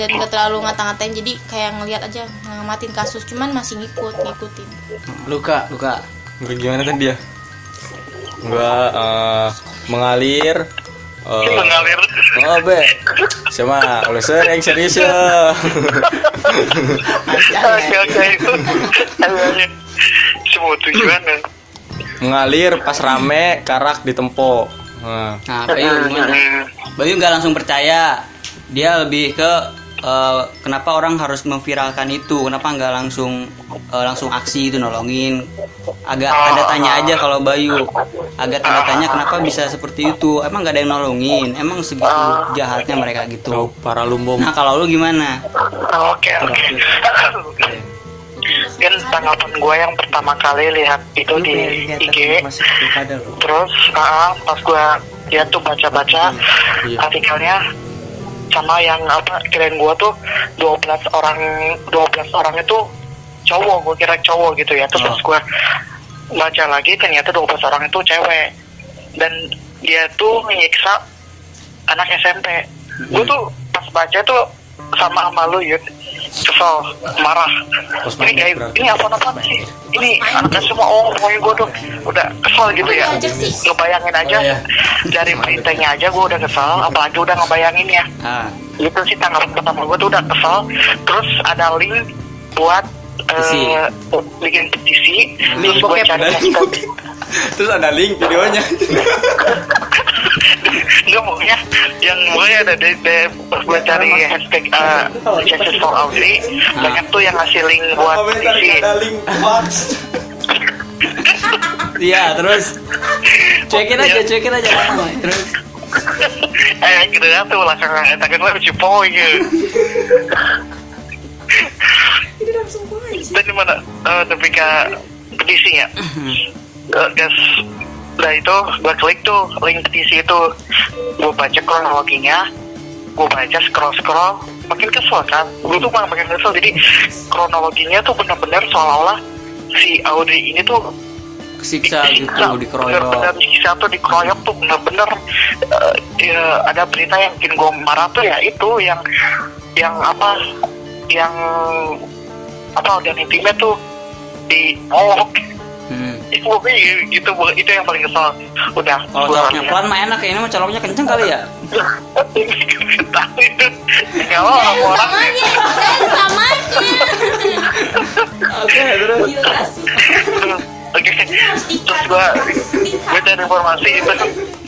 dan gak terlalu ngata-ngatain jadi kayak ngelihat aja ngamatin kasus cuman masih ngikut ngikutin luka luka Enggak gimana tadi ya? Enggak eh, mengalir. eh, mengalir oh be, sama oleh sering serius ya. Nah, ya. oke oke itu Awalnya. semua tujuan ya. mengalir pas rame karak ditempo. Nah, nah Bayu Iya, gimana ya. Bayu nggak langsung percaya dia lebih ke eh, kenapa orang harus memviralkan itu kenapa nggak langsung eh, langsung aksi itu nolongin agak ada tanya aja kalau Bayu agak tanda tanya kenapa bisa seperti itu emang nggak ada yang nolongin emang segitu jahatnya mereka gitu para lumbom. nah kalau lu gimana Oke oke. Kan tanggapan gue yang pertama kali lihat itu di IG, terus ah, pas gue lihat tuh baca-baca artikelnya sama yang apa kirain gue tuh 12 orang 12 orang itu cowok gue kira cowok gitu ya terus pas gue baca lagi ternyata 12 orang itu cewek dan dia tuh menyiksa anak SMP gue tuh pas baca tuh sama sama lu Yud kesel marah ini kayak ini apa apa sih ini anaknya semua oh pokoknya gue tuh udah kesel gitu ya ngebayangin aja dari beritanya aja gue udah kesel apalagi udah ngebayangin ya ah itu sih tanggapan pertama gue tuh udah kesel terus ada link buat Petisi. eh, bikin petisi terus gue bokep. cari hashtag Terus ada link videonya. Enggak pokoknya yang mulai ada di, di pas gue cari hashtag uh, Justice for Audrey banyak tuh yang ngasih link buat isi iya terus cuekin aja cuekin aja terus eh gitu ya tuh belakangan eh takut gue lucu poin gitu dan dimana eh tapi ke petisinya ya? Eh, guys udah itu gue klik tuh link petisi itu gue baca kronologinya gue baca scroll scroll makin kesel kan gue tuh malah makin kesel jadi kronologinya tuh benar-benar seolah-olah si Audrey ini tuh kesiksa gitu Nah, bener-bener dikeroyok disiksa tuh dikeroyok tuh bener-bener eh, ya, ada berita yang bikin gue marah tuh ya itu yang yang apa yang apa udah intimnya tuh di ngolok hmm. itu gue gitu gua- itu yang paling kesel udah kalau gua- coloknya pelan mah enak ya ini mah coloknya kenceng kali ya Tahu itu. ya Allah, orang Iya, orang Oke. Terus gua gue cari informasi itu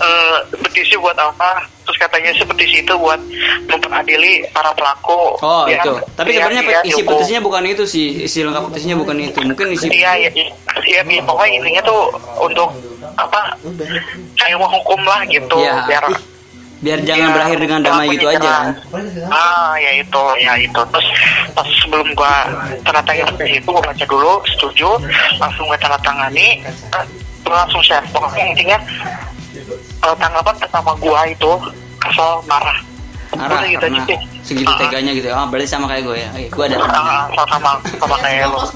eh, petisi buat apa? Terus katanya sih petisi itu buat memperadili para pelaku. Iya. Oh yang- itu. Tapi yang- sebenarnya yang isi dihukum. petisinya bukan itu sih. Isi lengkap petisinya bukan itu. Mungkin isi Iya, iya, iya, iya, iya. pokoknya intinya tuh untuk apa? Kayak mau hukum lah gitu, Iya. biar biar jangan biar berakhir dengan damai pelakunya gitu aja jerah. kan. Iya. Ah, ya itu, ya itu. Terus pas sebelum gua tanda tangan seperti itu, gua baca dulu, setuju, langsung gua tanda tangani, eh, gua langsung share. Pokoknya intinya eh, tanggapan pertama gua itu kesel, marah. Marah Udah gitu aja karena sih. segitu Ah, teganya gitu. Ah berarti sama kayak gue ya. Oke, gue ada. ah, ah, sama sama kayak lo. Ya,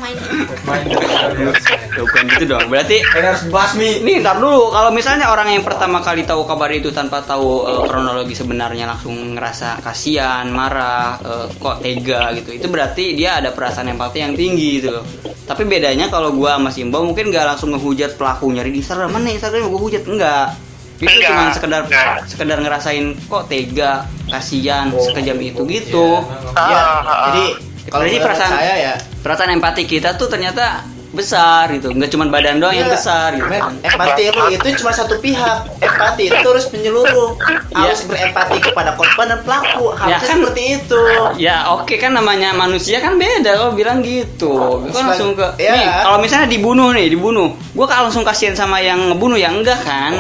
bukan gitu dong. Berarti harus basmi. Nih ntar dulu. Kalau misalnya orang yang pertama kali tahu kabar itu tanpa tahu eh, kronologi sebenarnya langsung ngerasa kasihan, marah, eh, kok tega gitu. Itu berarti dia ada perasaan empati yang tinggi gitu loh. Tapi bedanya kalau gua sama Simba mungkin nggak langsung ngehujat pelaku nyari di Instagram mana Instagram gua hujat enggak. Itu Enggak, cuma sekedar enggak. sekedar ngerasain kok tega, kasihan, sekejam itu gitu. Ah, ya ah, ah. jadi kalau Jadi ini perasaan- perasaan saya ya Perasaan empati kita tuh ternyata besar gitu. Nggak cuma badan doang yang Iya. besar gitu. Men, empati lu itu cuma satu pihak empati itu harus menyeluruh Iya. harus berempati kepada korban dan pelaku harusnya kan. seperti itu Ya oke kan namanya manusia kan beda kalau bilang gitu. Gue Selan- langsung ke Iya. nih kalau misalnya dibunuh nih dibunuh, gue kalau langsung kasihan sama yang ngebunuh ya enggak kan?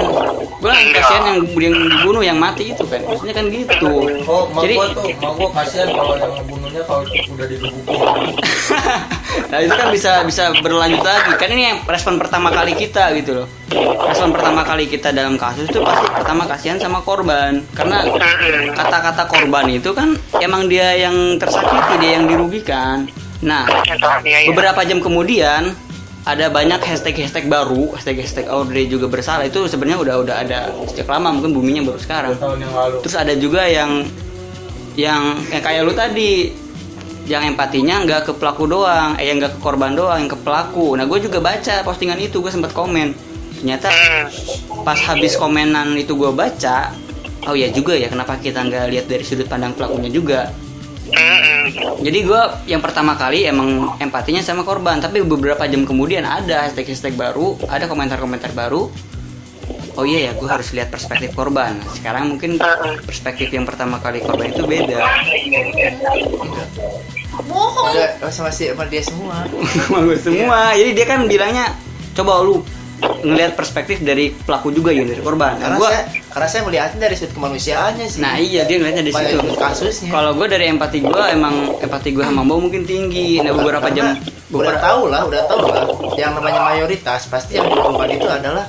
Gue langsung Iya. kasihan yang, yang dibunuh yang mati itu kan, maksudnya kan gitu. Oh, Jadi mau Oh, gua kasihan kalau yang ngebunuhnya kalau udah dibunuh nah itu kan bisa bisa berlanjut lagi kan ini yang respon pertama kali kita gitu loh respon pertama kali kita dalam kasus itu pasti pertama kasihan sama korban karena kata-kata korban itu kan emang dia yang tersakiti dia yang dirugikan nah Iya, iya. Beberapa jam kemudian ada banyak hashtag-hashtag baru, hashtag-hashtag Audrey juga bersalah itu sebenarnya udah udah ada sejak lama mungkin buminya baru sekarang. tahun yang lalu. Terus ada juga yang yang yang kayak lu tadi yang empatinya nggak ke pelaku doang eh yang nggak ke korban doang yang ke pelaku nah gue juga baca postingan itu gue sempat komen ternyata Mm. pas habis komenan itu gue baca oh ya juga ya kenapa kita nggak lihat dari sudut pandang pelakunya juga jadi gue yang pertama kali emang empatinya sama korban tapi beberapa jam kemudian ada hashtag hashtag baru ada komentar komentar baru oh iya ya gue harus lihat perspektif korban sekarang mungkin perspektif yang pertama kali korban itu beda bohong Enggak, sama si sama dia semua. sama gue semua jadi dia kan bilangnya coba lu ngelihat perspektif dari pelaku juga ya dari korban nah, Karena gua, saya karena saya melihatnya dari sudut kemanusiaannya sih. nah iya dia ngelihatnya di Pada situ ikut kasusnya. kalau gue dari empati gue emang empati gue sama Mbak mungkin tinggi nah beberapa Karena jam udah tahu lah, udah tahu lah. Yang namanya mayoritas pasti yang dilakukan itu adalah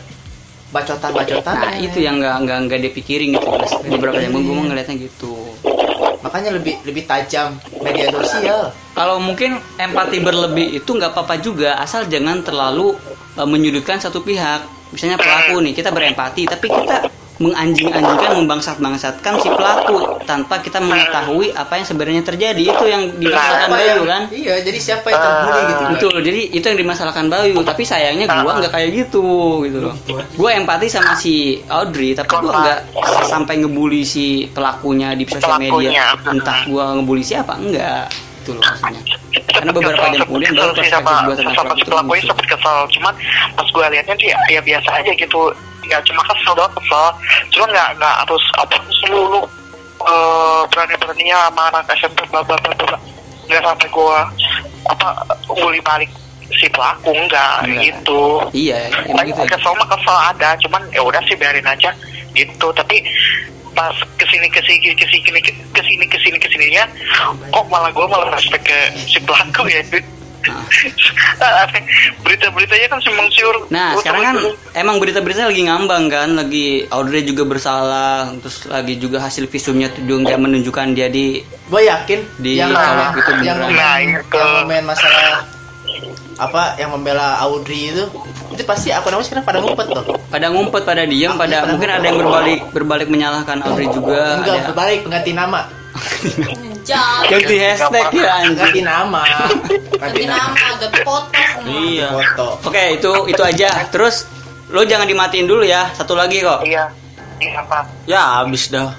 bacotan-bacotan. Nah itu yang nggak nggak nggak dipikirin gitu Mas. beberapa yang gue mau ngeliatnya gitu. Makanya lebih lebih tajam media sosial. Kalau mungkin empati berlebih itu nggak apa-apa juga asal jangan terlalu eh, menyudutkan satu pihak. Misalnya pelaku nih kita berempati tapi kita menganjing-anjingkan membangsat-bangsatkan si pelaku tanpa kita mengetahui apa yang sebenarnya terjadi itu yang dimasalahkan Siapa Bayu yang- kan. Ah. Iya, jadi siapa yang terbuli gitu. kan? Betul, jadi itu yang dimasalahkan Bayu, tapi sayangnya gua nggak kayak gitu gitu loh. Gua empati sama si Audrey, tapi gua nggak sampai ngebully si pelakunya di sosial media. Pelakunya. Entah gua ngebully siapa enggak. Itu loh maksudnya. Karena beberapa jam Sempet kemudian baru kesel sih perspektif sama gua tentang sama pelaku si itu pelakunya muncul. sempet kesel cuman pas gue liatnya tuh ya, ya biasa aja gitu ya cuma kesel doang kesel cuman nggak nggak harus apa lu lu eh, berani-beraninya sama anak SMP bla bla bla bla nggak sampai gue apa nguli balik si pelaku enggak Enggak. gitu Iya, emang Tapi gitu. ya. kesel mah kesel ada, cuman ya udah sih biarin aja gitu. Tapi pas kesini kesini kesini kesini kesini kesininya kok malah gue malah respect ke si pelaku ya dude. berita-beritanya kan simpang siur Ah. Nah, sekarang kan emang berita-berita lagi ngambang kan, lagi Audrey juga bersalah, terus lagi juga hasil visumnya tuh juga menunjukkan dia di Gue yakin Di yang kolak itu yang beneran. yang, Nah, itu. yang main masalah apa yang membela Audrey itu itu pasti aku namanya sekarang pada ngumpet loh. pada ngumpet pada diam Ah, pada pada mungkin ngumpet. ada yang berbalik berbalik menyalahkan Audrey juga Enggak, Eh, ada berbalik ganti nama. jauh ganti hashtag ya anjing Ganti nama. ganti nama ganti foto semua Iya. Foto. oke itu itu aja terus lo jangan dimatiin dulu ya satu lagi kok iya iya apa Ya habis dah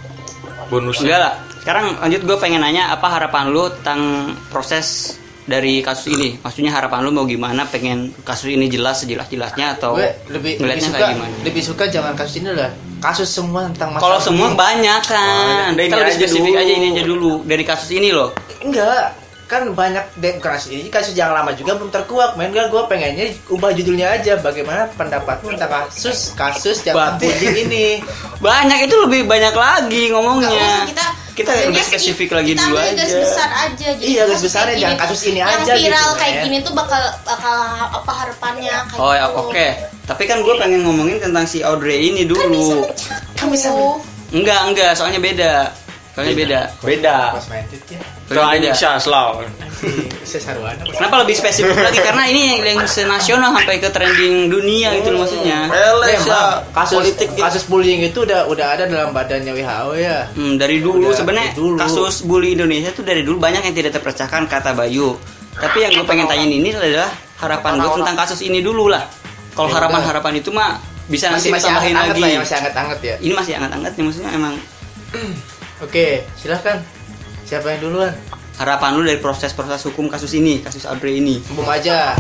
bonusnya. enggak lah sekarang lanjut gue pengen nanya apa harapan lo tentang proses dari kasus ini maksudnya harapan lo mau gimana pengen kasus ini jelas sejelas jelasnya atau Gue lebih lebih ngeliatnya suka kayak gimana lebih suka jangan kasus ini lah. Kasus semua tentang masalah. kalau semua banyak kan Oh, udah, kita ini lebih aja spesifik dulu. aja ini aja dulu dari kasus ini loh enggak kan banyak demokrasi ini kasus yang lama juga belum terkuak main gak gue pengennya ubah judulnya aja bagaimana pendapatmu tentang kasus kasus yang Berarti- bullying ini banyak itu lebih banyak lagi ngomongnya Iya, Nggak usah, kita Iya. kita jadinya lebih spesifik lagi kita dulu ambil garis aja besar aja gitu. jadi Iya, garis kasus besarnya kayak jangan gini kasus ini tuh, aja yang viral gitu, kayak ya. gini tuh bakal bakal apa harapannya kayak Oh ya gitu. oke, tapi kan gue pengen ngomongin tentang si Audrey ini kan bisa dulu. kamu bisa Enggak enggak, soalnya beda. Soalnya beda. Beda. pas main tweet ya Soalnya beda. Soalnya slow. saya sarwana pas- Kenapa lebih spesifik lagi? Karena ini yang, yang senasional sampai ke trending dunia gitu loh Hmm, maksudnya. Memang, Elesa kasus politik Iya, kasus bullying itu udah udah ada dalam badannya WHO ya Hmm, dari dulu Udah, sebenarnya dari dulu. kasus bully Indonesia tuh dari dulu banyak yang tidak terpecahkan kata Bayu. Tapi yang gue pengen tanyain ini adalah harapan gue tentang kasus ini dulu lah. Kalau Ya udah. harapan-harapan itu mah bisa nanti masih masih tambahin anget lagi. lah ya masih anget-anget ya Ini masih anget-anget nih maksudnya emang oke silahkan siapa yang duluan harapan lu dari proses-proses hukum kasus ini, kasus Audrey ini. bom aja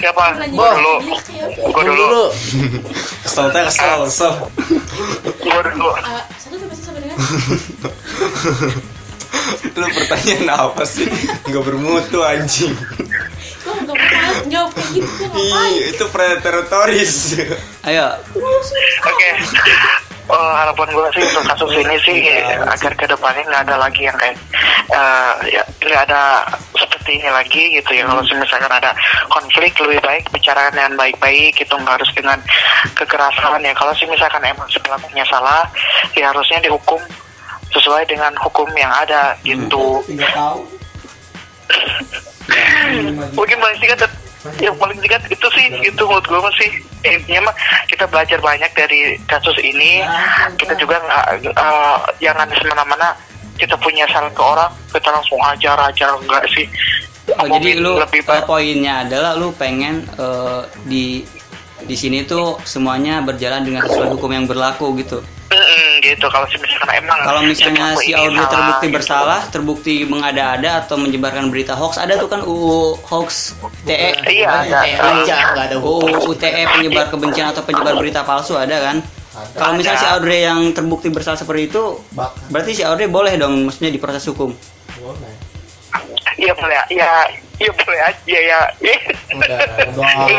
siapa lanjut gue dulu gue bom dulu dulu Kesel teh kesel, kesel. gue dulu Eh, satu sampai sama dengan Lu pertanyaan apa sih? Enggak bermutu anjing. lo nggak pernah jawab kayak gitu lo Iya. ngapain Ih, itu preteritoris. Ayo, Oke. Eh, harapan gue sih untuk kasus ini sih agar kedepannya nggak ada lagi yang kayak eh, ya, nggak ada seperti ini lagi gitu ya. Kalau misalkan ada konflik lebih baik bicarakan dengan baik-baik gitu nggak harus dengan kekerasan ya. Kalau sih misalkan emang si pelakunya salah ya harusnya dihukum sesuai dengan hukum yang ada Hmm. gitu. Mungkin paling singkat yang paling singkat itu sih itu menurut gue masih eh, intinya mah kita belajar banyak dari kasus ini kita juga nggak eh, jangan semena-mena kita punya saran ke orang kita langsung ajar ajar enggak sih Oh, Aku jadi lu lebih eh, baik poinnya adalah lu pengen eh, di di sini tuh semuanya berjalan dengan sesuai hukum yang berlaku gitu. Mm-mm, gitu kalau misalkan emang Kalau misalnya semampu si ya, Audrey ini salah, terbukti gitu. bersalah, terbukti mengada-ada atau menyebarkan berita hoax, ada tuh kan UU hoax E, Eh, TE. Iya, ada. Aja ya? nggak ada hukum. UU TE E, penyebar kebencian atau penyebar berita palsu ada kan? Kalau misalnya si Ada. Audrey yang terbukti bersalah seperti itu, berarti si Audrey boleh dong maksudnya diproses hukum. Iya boleh, ya, iya boleh aja ya. ya. Iya.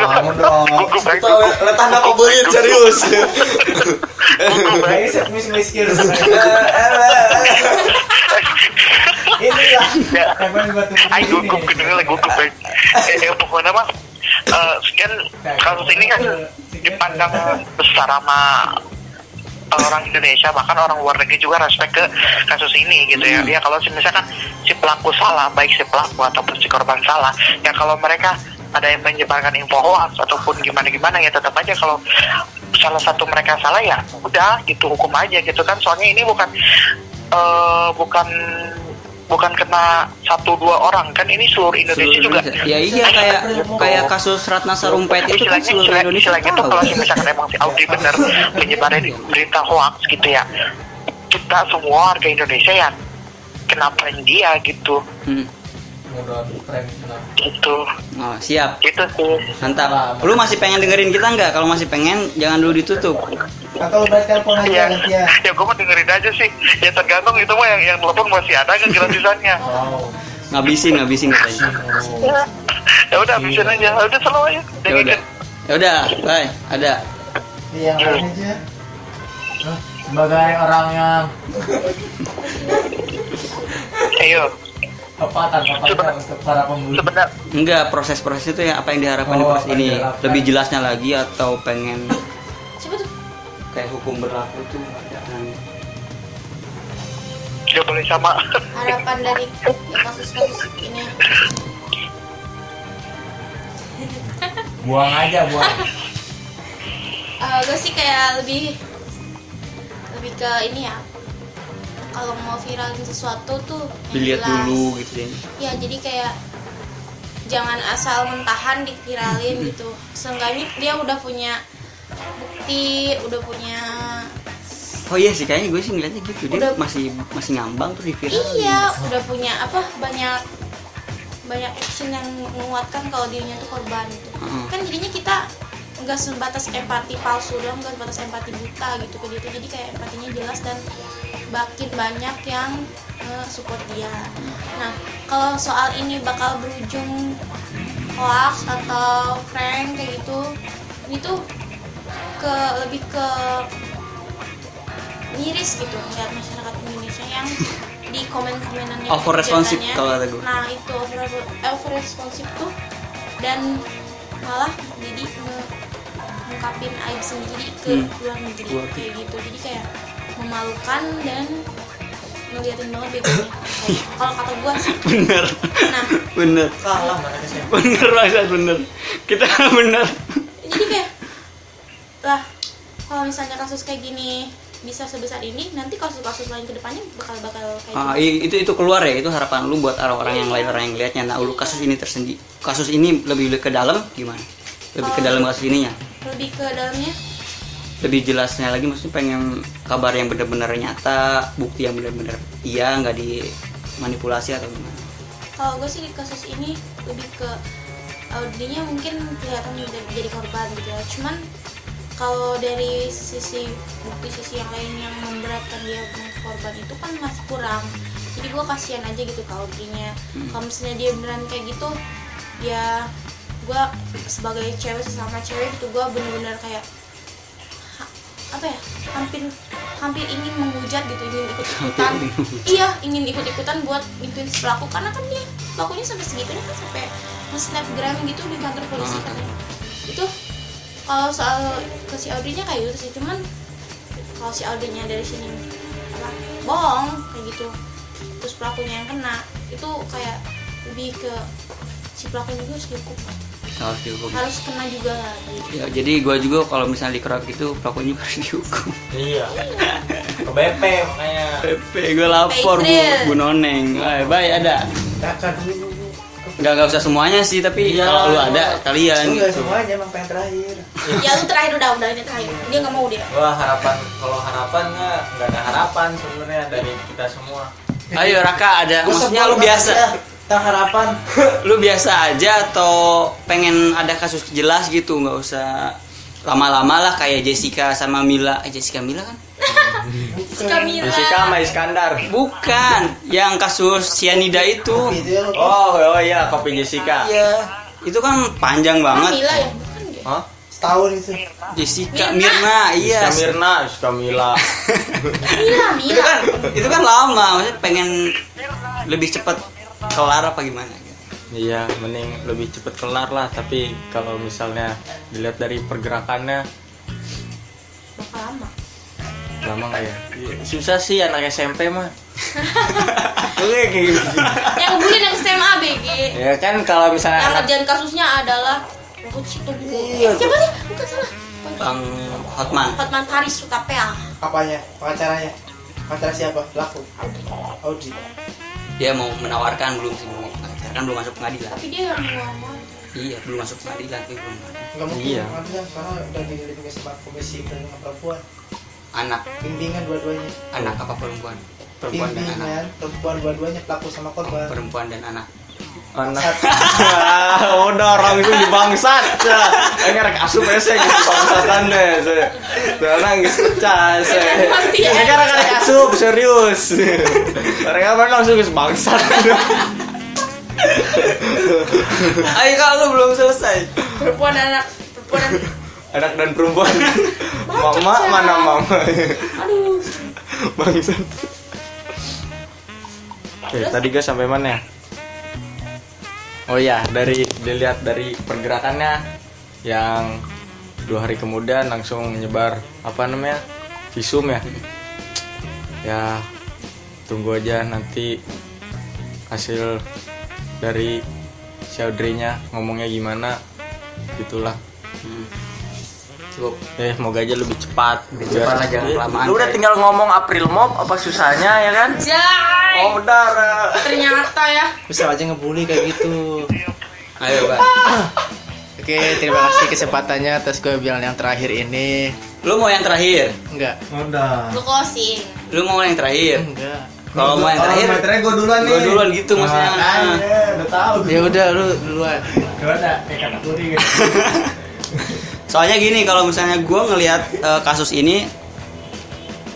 Dong, dong. Gugup aja, Kita letak nggak kebelin serius. gugup aja. Miss Miss Kir. Inilah. Ya. Emang batu. Ay, gugup kedengar lah gugup aja. Eh, eh, pokoknya mah eh, kan kasus ini kan dipandang besar sama eh, orang Indonesia bahkan orang luar negeri juga respect ke kasus ini gitu Hmm. ya. Ya kalau misalkan si pelaku salah, baik si pelaku ataupun si korban salah, ya kalau mereka ada yang menyebarkan info hoax ataupun gimana gimana ya tetap aja kalau salah satu mereka salah ya udah gitu hukum aja gitu kan soalnya ini bukan eh, bukan bukan kena satu dua orang kan ini seluruh Indonesia Seluruh juga Indonesia. Ya iya kayak kayak kasus Ratna Sarumpait itu kan istilahnya seluruh istilahnya, Indonesia istilahnya tuh tahu. kalau misalkan emang si Audi benar menyebarin berita hoax gitu ya kita semua warga Indonesia ya kenapa dia gitu Hmm. gitu Oh, siap. gitu sih Mantap. Lu masih pengen dengerin kita nggak? Kalau masih pengen, jangan dulu ditutup. Atau udah telepon Oh, ya iya, aja nanti ya. ya gue mau dengerin aja sih ya tergantung itu mah yang yang telepon masih ada nggak gratisannya Oh. Ngabisin, ngabisin katanya. ya udah habisin aja Iya. udah selalu aja Ya udah. Ya udah, bye. Ada. Iya, yang lain aja. Sebagai orang yang ayo kepatan kepatan untuk para pembuli. sebenarnya Enggak, proses-proses itu ya apa yang diharapkan di Oh, proses apa yang ini. diharapkan. Lebih jelasnya lagi atau pengen Coba tuh. kayak hukum berlaku tuh ada kan. nggak boleh sama harapan dari kasus-kasus ini Buang aja buang. Eh, gue sih kayak lebih lebih ke ini ya kalau mau viralin sesuatu tuh yang dilihat jelas. dulu gitu ya. ya jadi kayak jangan asal mentahan diviralin gitu seenggaknya dia udah punya bukti udah punya Oh iya sih kayaknya gue sih ngeliatnya gitu dia Udah. masih masih ngambang tuh di viral. iya udah punya apa banyak banyak action yang menguatkan kalau dirinya tuh korban gitu Mm. kan jadinya kita nggak sebatas empati palsu doang nggak sebatas empati buta gitu ke dia tuh. jadi kayak empatinya jelas dan makin banyak yang eh, support dia nah kalau soal ini bakal berujung hoax atau prank kayak gitu ini tuh ke lebih ke miris gitu ngeliat masyarakat Indonesia yang di komen-komenannya Overresponsif kegiatannya. kalau kata gue. nah itu over overresponsif tuh dan malah jadi nge- ngungkapin aib sendiri ke Hmm. luar negeri Luar kayak gitu jadi kayak memalukan dan ngeliatin banget begonya Kayak- kalau kata gua sih Bener, nah bener, Salah mana sih? bener Mas, bener. Kita bener. jadi kayak lah kalau misalnya kasus kayak gini bisa sebesar ini nanti kasus-kasus lain kedepannya bakal bakal kayak Ah, gitu i- itu itu keluar ya itu harapan lu buat orang-orang yang lain orang yang lihatnya nah lu kasus ini tersendi kasus ini lebih ke dalam gimana lebih ke dalam kasus ininya lebih ke dalamnya lebih jelasnya lagi maksudnya pengen kabar yang benar-benar nyata bukti yang benar-benar iya nggak dimanipulasi atau gimana kalau gue sih di kasus ini lebih ke audinya mungkin kelihatan udah jadi korban gitu ya cuman kalau dari sisi bukti sisi yang lain yang memberatkan dia menjadi korban itu kan masih kurang jadi gue kasihan aja gitu ke audinya Hmm. kalau misalnya dia beneran kayak gitu ya gue sebagai cewek sesama cewek gitu gue bener-bener kayak ha- apa ya hampir hampir ingin menghujat gitu ingin ikut ikutan Hampir ingin iya ingin ikut ikutan buat gituin si pelaku karena kan dia pelakunya sampai segitunya kan sampai snapgram gitu di kantor polisi Ah. katanya itu kalau soal ke si Audrey-nya kayak gitu sih cuman kalau si Audrey-nya dari sini apa bohong kayak gitu terus pelakunya yang kena itu kayak lebih ke si pelakunya juga harus dihukum harus dihukum harus kena juga lah gitu ya jadi gua juga kalau misalnya dikeroyok gitu pelakunya juga harus dihukum Iya. ke BP makanya Pepe, gue lapor bu, April. bu Noneng. Bye, bye ada. takkan dulu Gak nggak usah semuanya sih, tapi Iya, kalau lu iya. ada kalian. enggak gitu. semuanya emang pengen terakhir ya lu terakhir udah udah ini terakhir dia nggak mau dia Wah harapan kalau harapan nggak nggak ada harapan sebenarnya dari kita semua. Ayo Raka ada. Gua Maksudnya sebel lu banget biasa, ya, tentang harapan lu biasa aja atau pengen ada kasus jelas gitu, nggak usah lama-lama lah kayak Jessica sama Mila. Eh, Jessica Mila kan? Kamila Jessica sama Iskandar. Bukan, yang kasus sianida itu. gitu ya lo Oh, oh iya, kopi Jessica. iya Itu kan panjang banget. Kamila ya bukan dia Hah? setahun itu Jessica Mirna. Mirna, iya. Jessica Mirna, Jessica Mila. Itu Mila Mila kan itu kan lama, maksudnya pengen lebih cepet kelar apa gimana gitu. Iya, mending lebih cepet kelar lah. Tapi kalau misalnya dilihat dari pergerakannya, bakal lama lama nggak ya? Susah sih anak SMP mah. Oke, kayak gitu. yang ngebulin Eh, yang SMA BG Ya kan kalau misalnya yang anak kerjaan kasusnya adalah Ruhut Sitobu Eh, siapa sih bukan salah Bang Hotman. Hotman Paris Sutapea apanya pengacaranya pengacara siapa laku Audi Dia mau menawarkan belum sih belum pengacara. kan belum masuk pengadilan. tapi dia yang ngomong Iya, belum masuk pengadilan tapi belum ada. nggak mungkin Iya. pengacaranya karena udah jadi komisi komisi perlindungan perempuan anak bimbingan dua-duanya anak apa perempuan? Perempuan dan anak. bimbingan perempuan dua-duanya pelaku sama korban Perempuan dan anak. anak Wah, udah langsung dibangsat ya. Eh, ngerek asup ya saya gitu bangsatan deh saya orang nggak pecah saya ya kan ngerek asup serius mereka apa langsung ke bangsat Ayo kalau belum selesai. perempuan dan anak perempuan dan anak dan perempuan mama mana mama aduh bangsat oke tadi guys sampai mana ya oh ya dari dilihat dari pergerakannya yang dua hari kemudian langsung menyebar apa namanya visum ya ya tunggu aja nanti hasil dari Syaudrinya ngomongnya gimana gitulah Cukup. eh semoga aja lebih cepat Lebih cepat lah, jangan kelamaan. lu udah tinggal ngomong April Mop apa susahnya ya kan Jai oh udah ternyata ya bisa aja ngebully kayak gitu Ayo, Bang. oke terima kasih kesempatannya atas gue bilang yang terakhir ini Lu mau yang terakhir? enggak udah lu closing Lu mau yang terakhir? enggak Kalau mau yang terakhir, terakhir gue duluan gua duluan gitu maksudnya. Ah. udah tahu ya udah lu duluan gimana kayak kategori gitu Soalnya gini, kalau misalnya gue ngelihat eh, kasus ini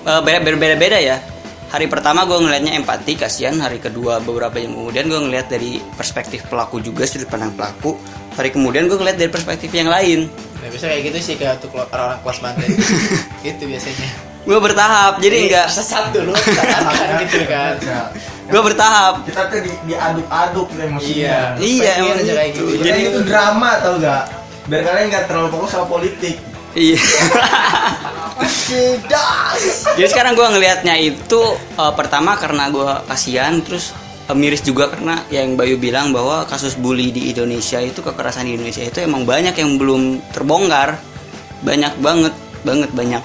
eh, be- berbeda-beda ya. Hari pertama gue ngelihatnya empati, kasihan. Hari kedua beberapa jam kemudian gue ngelihat dari perspektif pelaku juga sudut pandang pelaku. Hari kemudian gue ngelihat dari perspektif yang lain. nah, bisa kayak gitu sih kayak tuh kalau orang-orang kelas mantan gitu biasanya Gue bertahap, jadi Iya. enggak. sesat dulu sesat gitu kan Gue bertahap. kita tuh di, diaduk-aduk tuh iya emosinya Iya, pengen emang aja kayak gitu. gitu jadi itu drama tau gak biar kalian nggak terlalu fokus sama politik Iya. tidak jadi sekarang gue ngelihatnya itu eh, pertama karena gue kasihan, terus eh, miris juga karena yang Bayu bilang bahwa kasus bully di Indonesia itu kekerasan di Indonesia itu emang banyak yang belum terbongkar, banyak banget, banget banyak.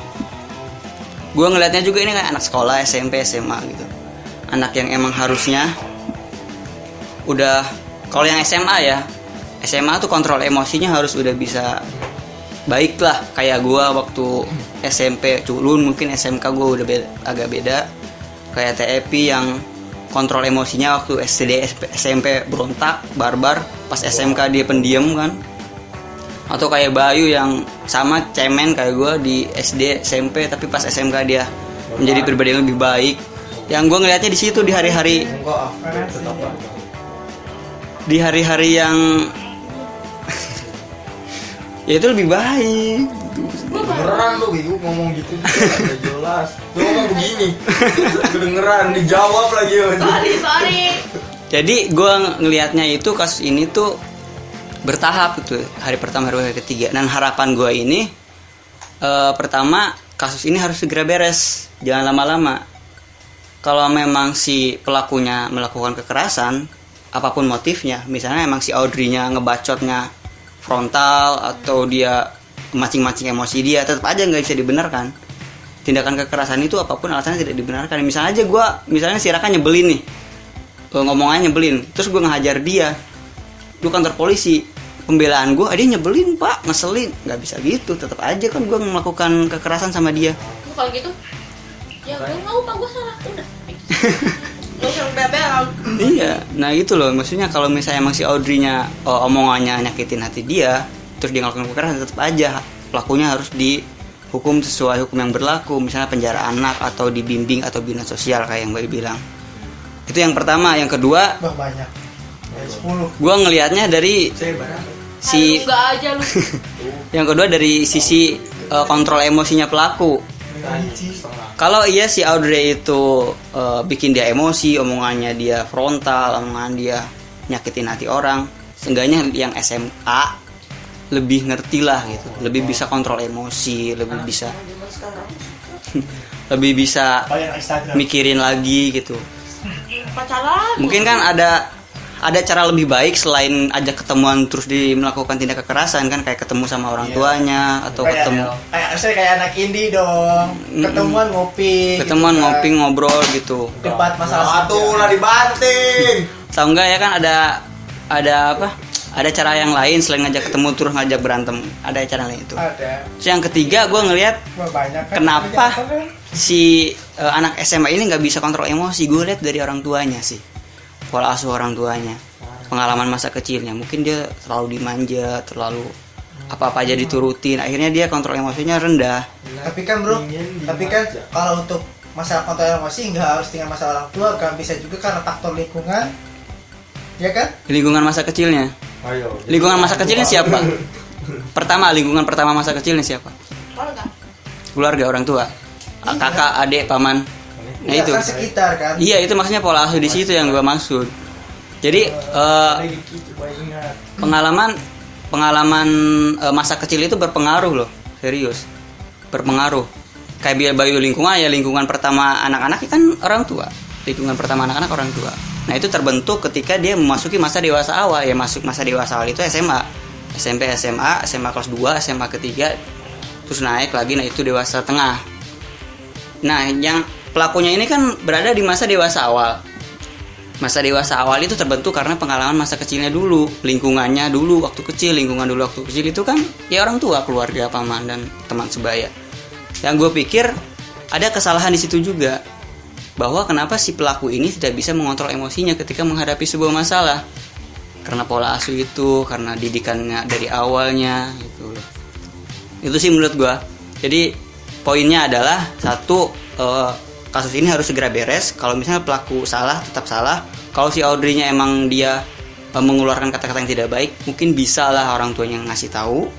Gue ngelihatnya juga ini kayak anak sekolah SMP SMA gitu, anak yang emang harusnya udah kalau yang SMA ya SMA tuh kontrol emosinya harus udah bisa baik lah kayak gua waktu SMP culun mungkin SMK gua udah be- agak beda kayak TEPI yang kontrol emosinya waktu SD SP SMP berontak barbar pas SMK dia pendiam kan atau kayak Bayu yang sama cemen kayak gua di SD SMP tapi pas SMK dia menjadi pribadi yang lebih baik yang gua ngelihatnya di situ di hari-hari di hari-hari yang ya itu lebih baik beneran lu Wiyu ngomong gitu Gak jelas lu ngomong begini kedengeran dijawab lagi sorry sorry jadi gue ngelihatnya itu kasus ini tuh bertahap gitu hari pertama hari, kedua, hari ketiga dan harapan gue ini eh, pertama kasus ini harus segera beres jangan lama-lama kalau memang si pelakunya melakukan kekerasan apapun motifnya misalnya emang si Audrey-nya ngebacotnya frontal atau dia mancing-mancing emosi dia tetap aja nggak bisa dibenarkan tindakan kekerasan itu apapun alasannya tidak dibenarkan misalnya aja gue misalnya si Raka nyebelin nih Eh, ngomongannya nyebelin terus gue ngehajar dia lu kantor polisi pembelaan gue ah, dia nyebelin pak ngeselin nggak bisa gitu tetap aja kan gue melakukan kekerasan sama dia Gua kalau gitu ya gue mau pak gue salah udah Gak usah bebel. Iya, nah itu loh maksudnya kalau misalnya emang si Audrey-nya oh, omongannya nyakitin hati dia, terus dia ngelakuin kekerasan tetap aja pelakunya harus dihukum sesuai hukum yang berlaku, misalnya penjara anak atau dibimbing atau bina sosial kayak yang Mbak bilang. Itu yang pertama, yang kedua, Bah banyak. Ya, 10. gua ngelihatnya dari Saya barang. si enggak aja lu yang kedua dari sisi eh, kontrol emosinya pelaku. Kunci setengah. Kalau iya si Audrey itu eh, bikin dia emosi, omongannya dia frontal, omongan dia nyakitin hati orang, seenggaknya yang SMA lebih ngerti lah gitu, lebih bisa kontrol emosi, lebih bisa lebih bisa Bayar Instagram. mikirin lagi gitu. pacaran Mungkin kan ada ada cara lebih baik selain ajak ketemuan terus di melakukan tindak kekerasan kan kayak ketemu sama orang tuanya atau Iya. Kayak- ketemu Kayak saya kayak anak indie dong. Ketemuan ngopi. ketemuan gitu kan. ngopi ngobrol gitu. Debat masalah Satu lah dibanting. Tahu nggak ya kan ada ada apa? Ada cara yang lain selain ngajak ketemu terus ngajak berantem. Ada cara lain itu. Ada. Terus yang ketiga gue ngelihat Bah, Banyak kan. kenapa Banyak kan? si eh, anak SMA ini nggak bisa kontrol emosi. Gue lihat dari orang tuanya sih. Pola asuh orang tuanya. Pengalaman masa kecilnya. Mungkin dia terlalu dimanja, terlalu apa-apa aja diturutin. Akhirnya dia kontrol emosinya rendah. tapi kan bro Ingin tapi kan dimanja. kalau untuk masalah kontrol emosi nggak harus dengan masalah orang tua kan bisa juga karena faktor lingkungan ya kan Lingkungan masa kecilnya. Ayo. Lingkungan masa kecilnya siapa? Pertama, lingkungan pertama masa kecilnya siapa? keluarga keluarga orang tua Ah, kakak adik paman nah Iya, itu kan sekitar kan iya itu maksudnya pola asuh di situ yang gua maksud jadi eh, Ada gitu, gua ingat. pengalaman pengalaman eh, masa kecil itu berpengaruh loh serius berpengaruh kayak biar bayu lingkungan ya lingkungan pertama anak-anak kan orang tua lingkungan pertama anak-anak orang tua nah itu terbentuk ketika dia memasuki masa dewasa awal ya masuk masa dewasa awal itu SMA SMP SMA SMA kelas 2 SMA ketiga terus naik lagi nah itu dewasa tengah nah yang pelakunya ini kan berada di masa dewasa awal Masa dewasa awal itu terbentuk karena pengalaman masa kecilnya dulu, lingkungannya dulu waktu kecil, lingkungan dulu waktu kecil itu kan ya orang tua, keluarga, paman dan teman sebaya. Yang gue pikir ada kesalahan di situ juga bahwa kenapa si pelaku ini tidak bisa mengontrol emosinya ketika menghadapi sebuah masalah karena pola asuh itu, karena didikannya dari awalnya gitu loh itu sih menurut gua jadi poinnya adalah satu eh, kasus ini harus segera beres kalau misalnya pelaku salah tetap salah kalau si Audrey-nya emang dia eh, mengeluarkan kata-kata yang tidak baik mungkin bisa lah orang tuanya ngasih tahu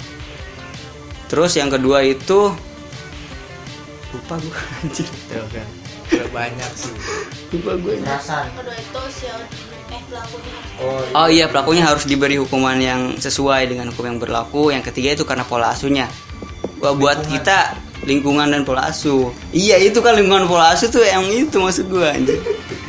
terus yang kedua itu lupa gue anjir Tuh kan. Udah banyak sih. lupa gue kekerasan kedua itu si eh pelakunya oh Oh iya pelakunya harus diberi hukuman yang sesuai dengan hukum yang berlaku. Yang ketiga itu karena pola asuhnya. Wah, buat kita lingkungan dan pola asuh. Iya itu kan lingkungan pola asuh tuh yang itu maksud gua anjir.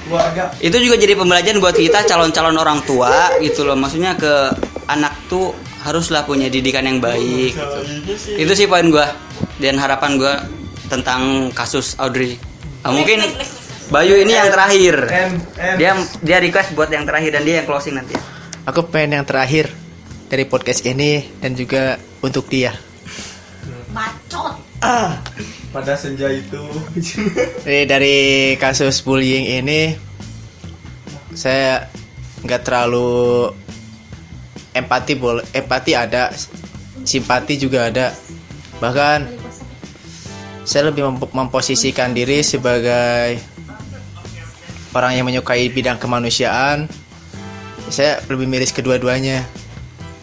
keluarga Itu juga jadi pembelajaran buat kita calon-calon orang tua gitu loh. Maksudnya ke anak tuh haruslah punya didikan yang baik. gitu. Itu sih poin gua dan harapan gua tentang kasus Audrey. Ah, mungkin Bayu ini yang terakhir. Dia dia request buat yang terakhir dan dia yang closing nanti. ya. Aku pengen yang terakhir dari podcast ini dan juga untuk dia. bacot Pada senja itu. Jadi dari kasus bullying ini saya nggak terlalu empati boleh empati ada simpati juga ada bahkan saya lebih mem- memposisikan diri sebagai orang yang menyukai bidang kemanusiaan saya lebih miris kedua-duanya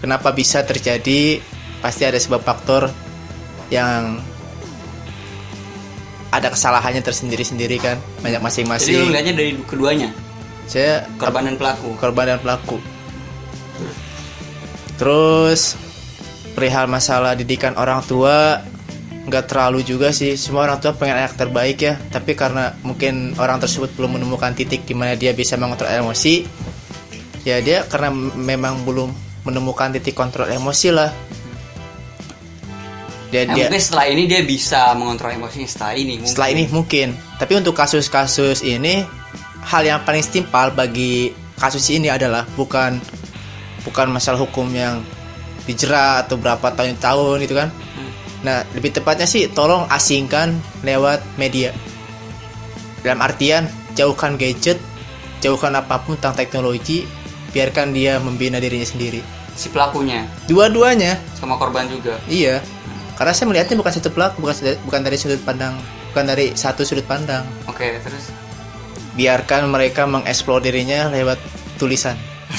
kenapa bisa terjadi pasti ada sebab faktor yang ada kesalahannya tersendiri-sendiri kan banyak Jadi lu masing-masing lihatnya dari keduanya, saya korban dan pelaku. korban dan pelaku. Terus perihal masalah didikan orang tua nggak terlalu juga sih. Semua orang tua pengen anak terbaik ya, tapi karena mungkin orang tersebut belum menemukan titik di mana dia bisa mengontrol emosi, ya dia karena m- memang belum menemukan titik kontrol emosi lah. dia Nah, dia mungkin setelah ini dia bisa mengontrol emosinya setelah ini. Mungkin. Iya. setelah ini mungkin tapi untuk kasus-kasus ini hal yang paling setimpal bagi kasus ini adalah bukan bukan masalah hukum yang dijerat atau berapa tahun-tahun gitu kan nah lebih tepatnya sih tolong asingkan lewat media dalam artian jauhkan gadget jauhkan apapun tentang teknologi biarkan dia membina dirinya sendiri si pelakunya dua-duanya sama korban juga. Iya. Karena saya melihatnya bukan satu pelaku, bukan sed- bukan dari sudut pandang, bukan dari satu sudut pandang. Oke, terus Biarkan mereka mengeksplor dirinya lewat tulisan.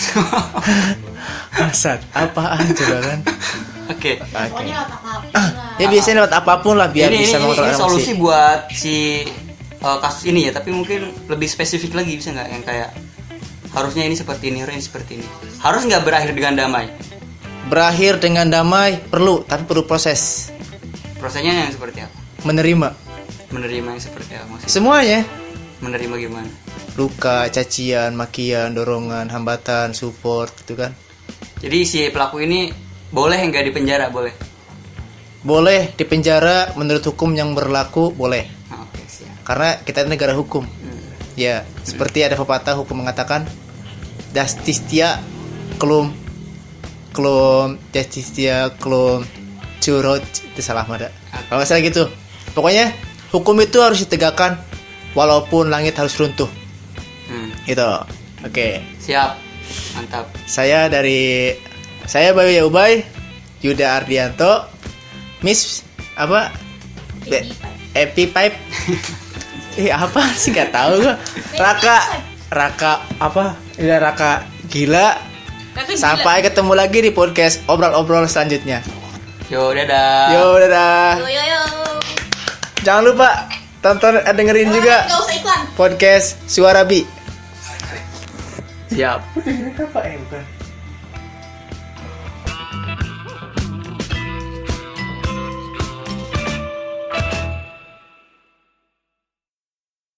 Asat, apaan coba kan? oke. Oke. Pokoknya otak-otak lah. Ya biasanya lewat apapun lah biar ini, bisa ini, mengontrol ini emosi. solusi buat si uh, kasus ini ya, tapi mungkin lebih spesifik lagi bisa nggak yang kayak harusnya ini seperti ini, harusnya ini seperti ini. Harus nggak berakhir dengan damai. Berakhir dengan damai perlu, tapi perlu proses Prosesnya yang seperti apa? menerima Menerima yang seperti apa? Maksudnya semuanya. menerima gimana? Luka, cacian, makian, dorongan, hambatan, support gitu kan. Jadi si pelaku ini boleh nggak dipenjara boleh. Boleh dipenjara menurut hukum yang berlaku, boleh. Nah, oke siap. Karena kita ini negara hukum. Hmm. Ya, seperti ada pepatah hukum mengatakan dastistia klum klum dastistia klum curot itu salah mada. Kalau nggak salah gitu. Pokoknya hukum itu harus ditegakkan walaupun langit harus runtuh. Hmm. Gitu. Oke. Siap. Mantap. Saya dari saya Bayu Yaubay, Yuda Ardianto, Miss apa? Be- Epi Pipe. Eh apa sih gak tahu gua. Raka Raka apa? Ya Raka gila. Sampai ketemu lagi di podcast obrol-obrol selanjutnya. Yo, dadah. Yo dadah. Yo yo yo. Jangan lupa tonton eh, dengerin juga Nggak usah iklan. podcast Suara Bi. Siap. Apa ya bukan?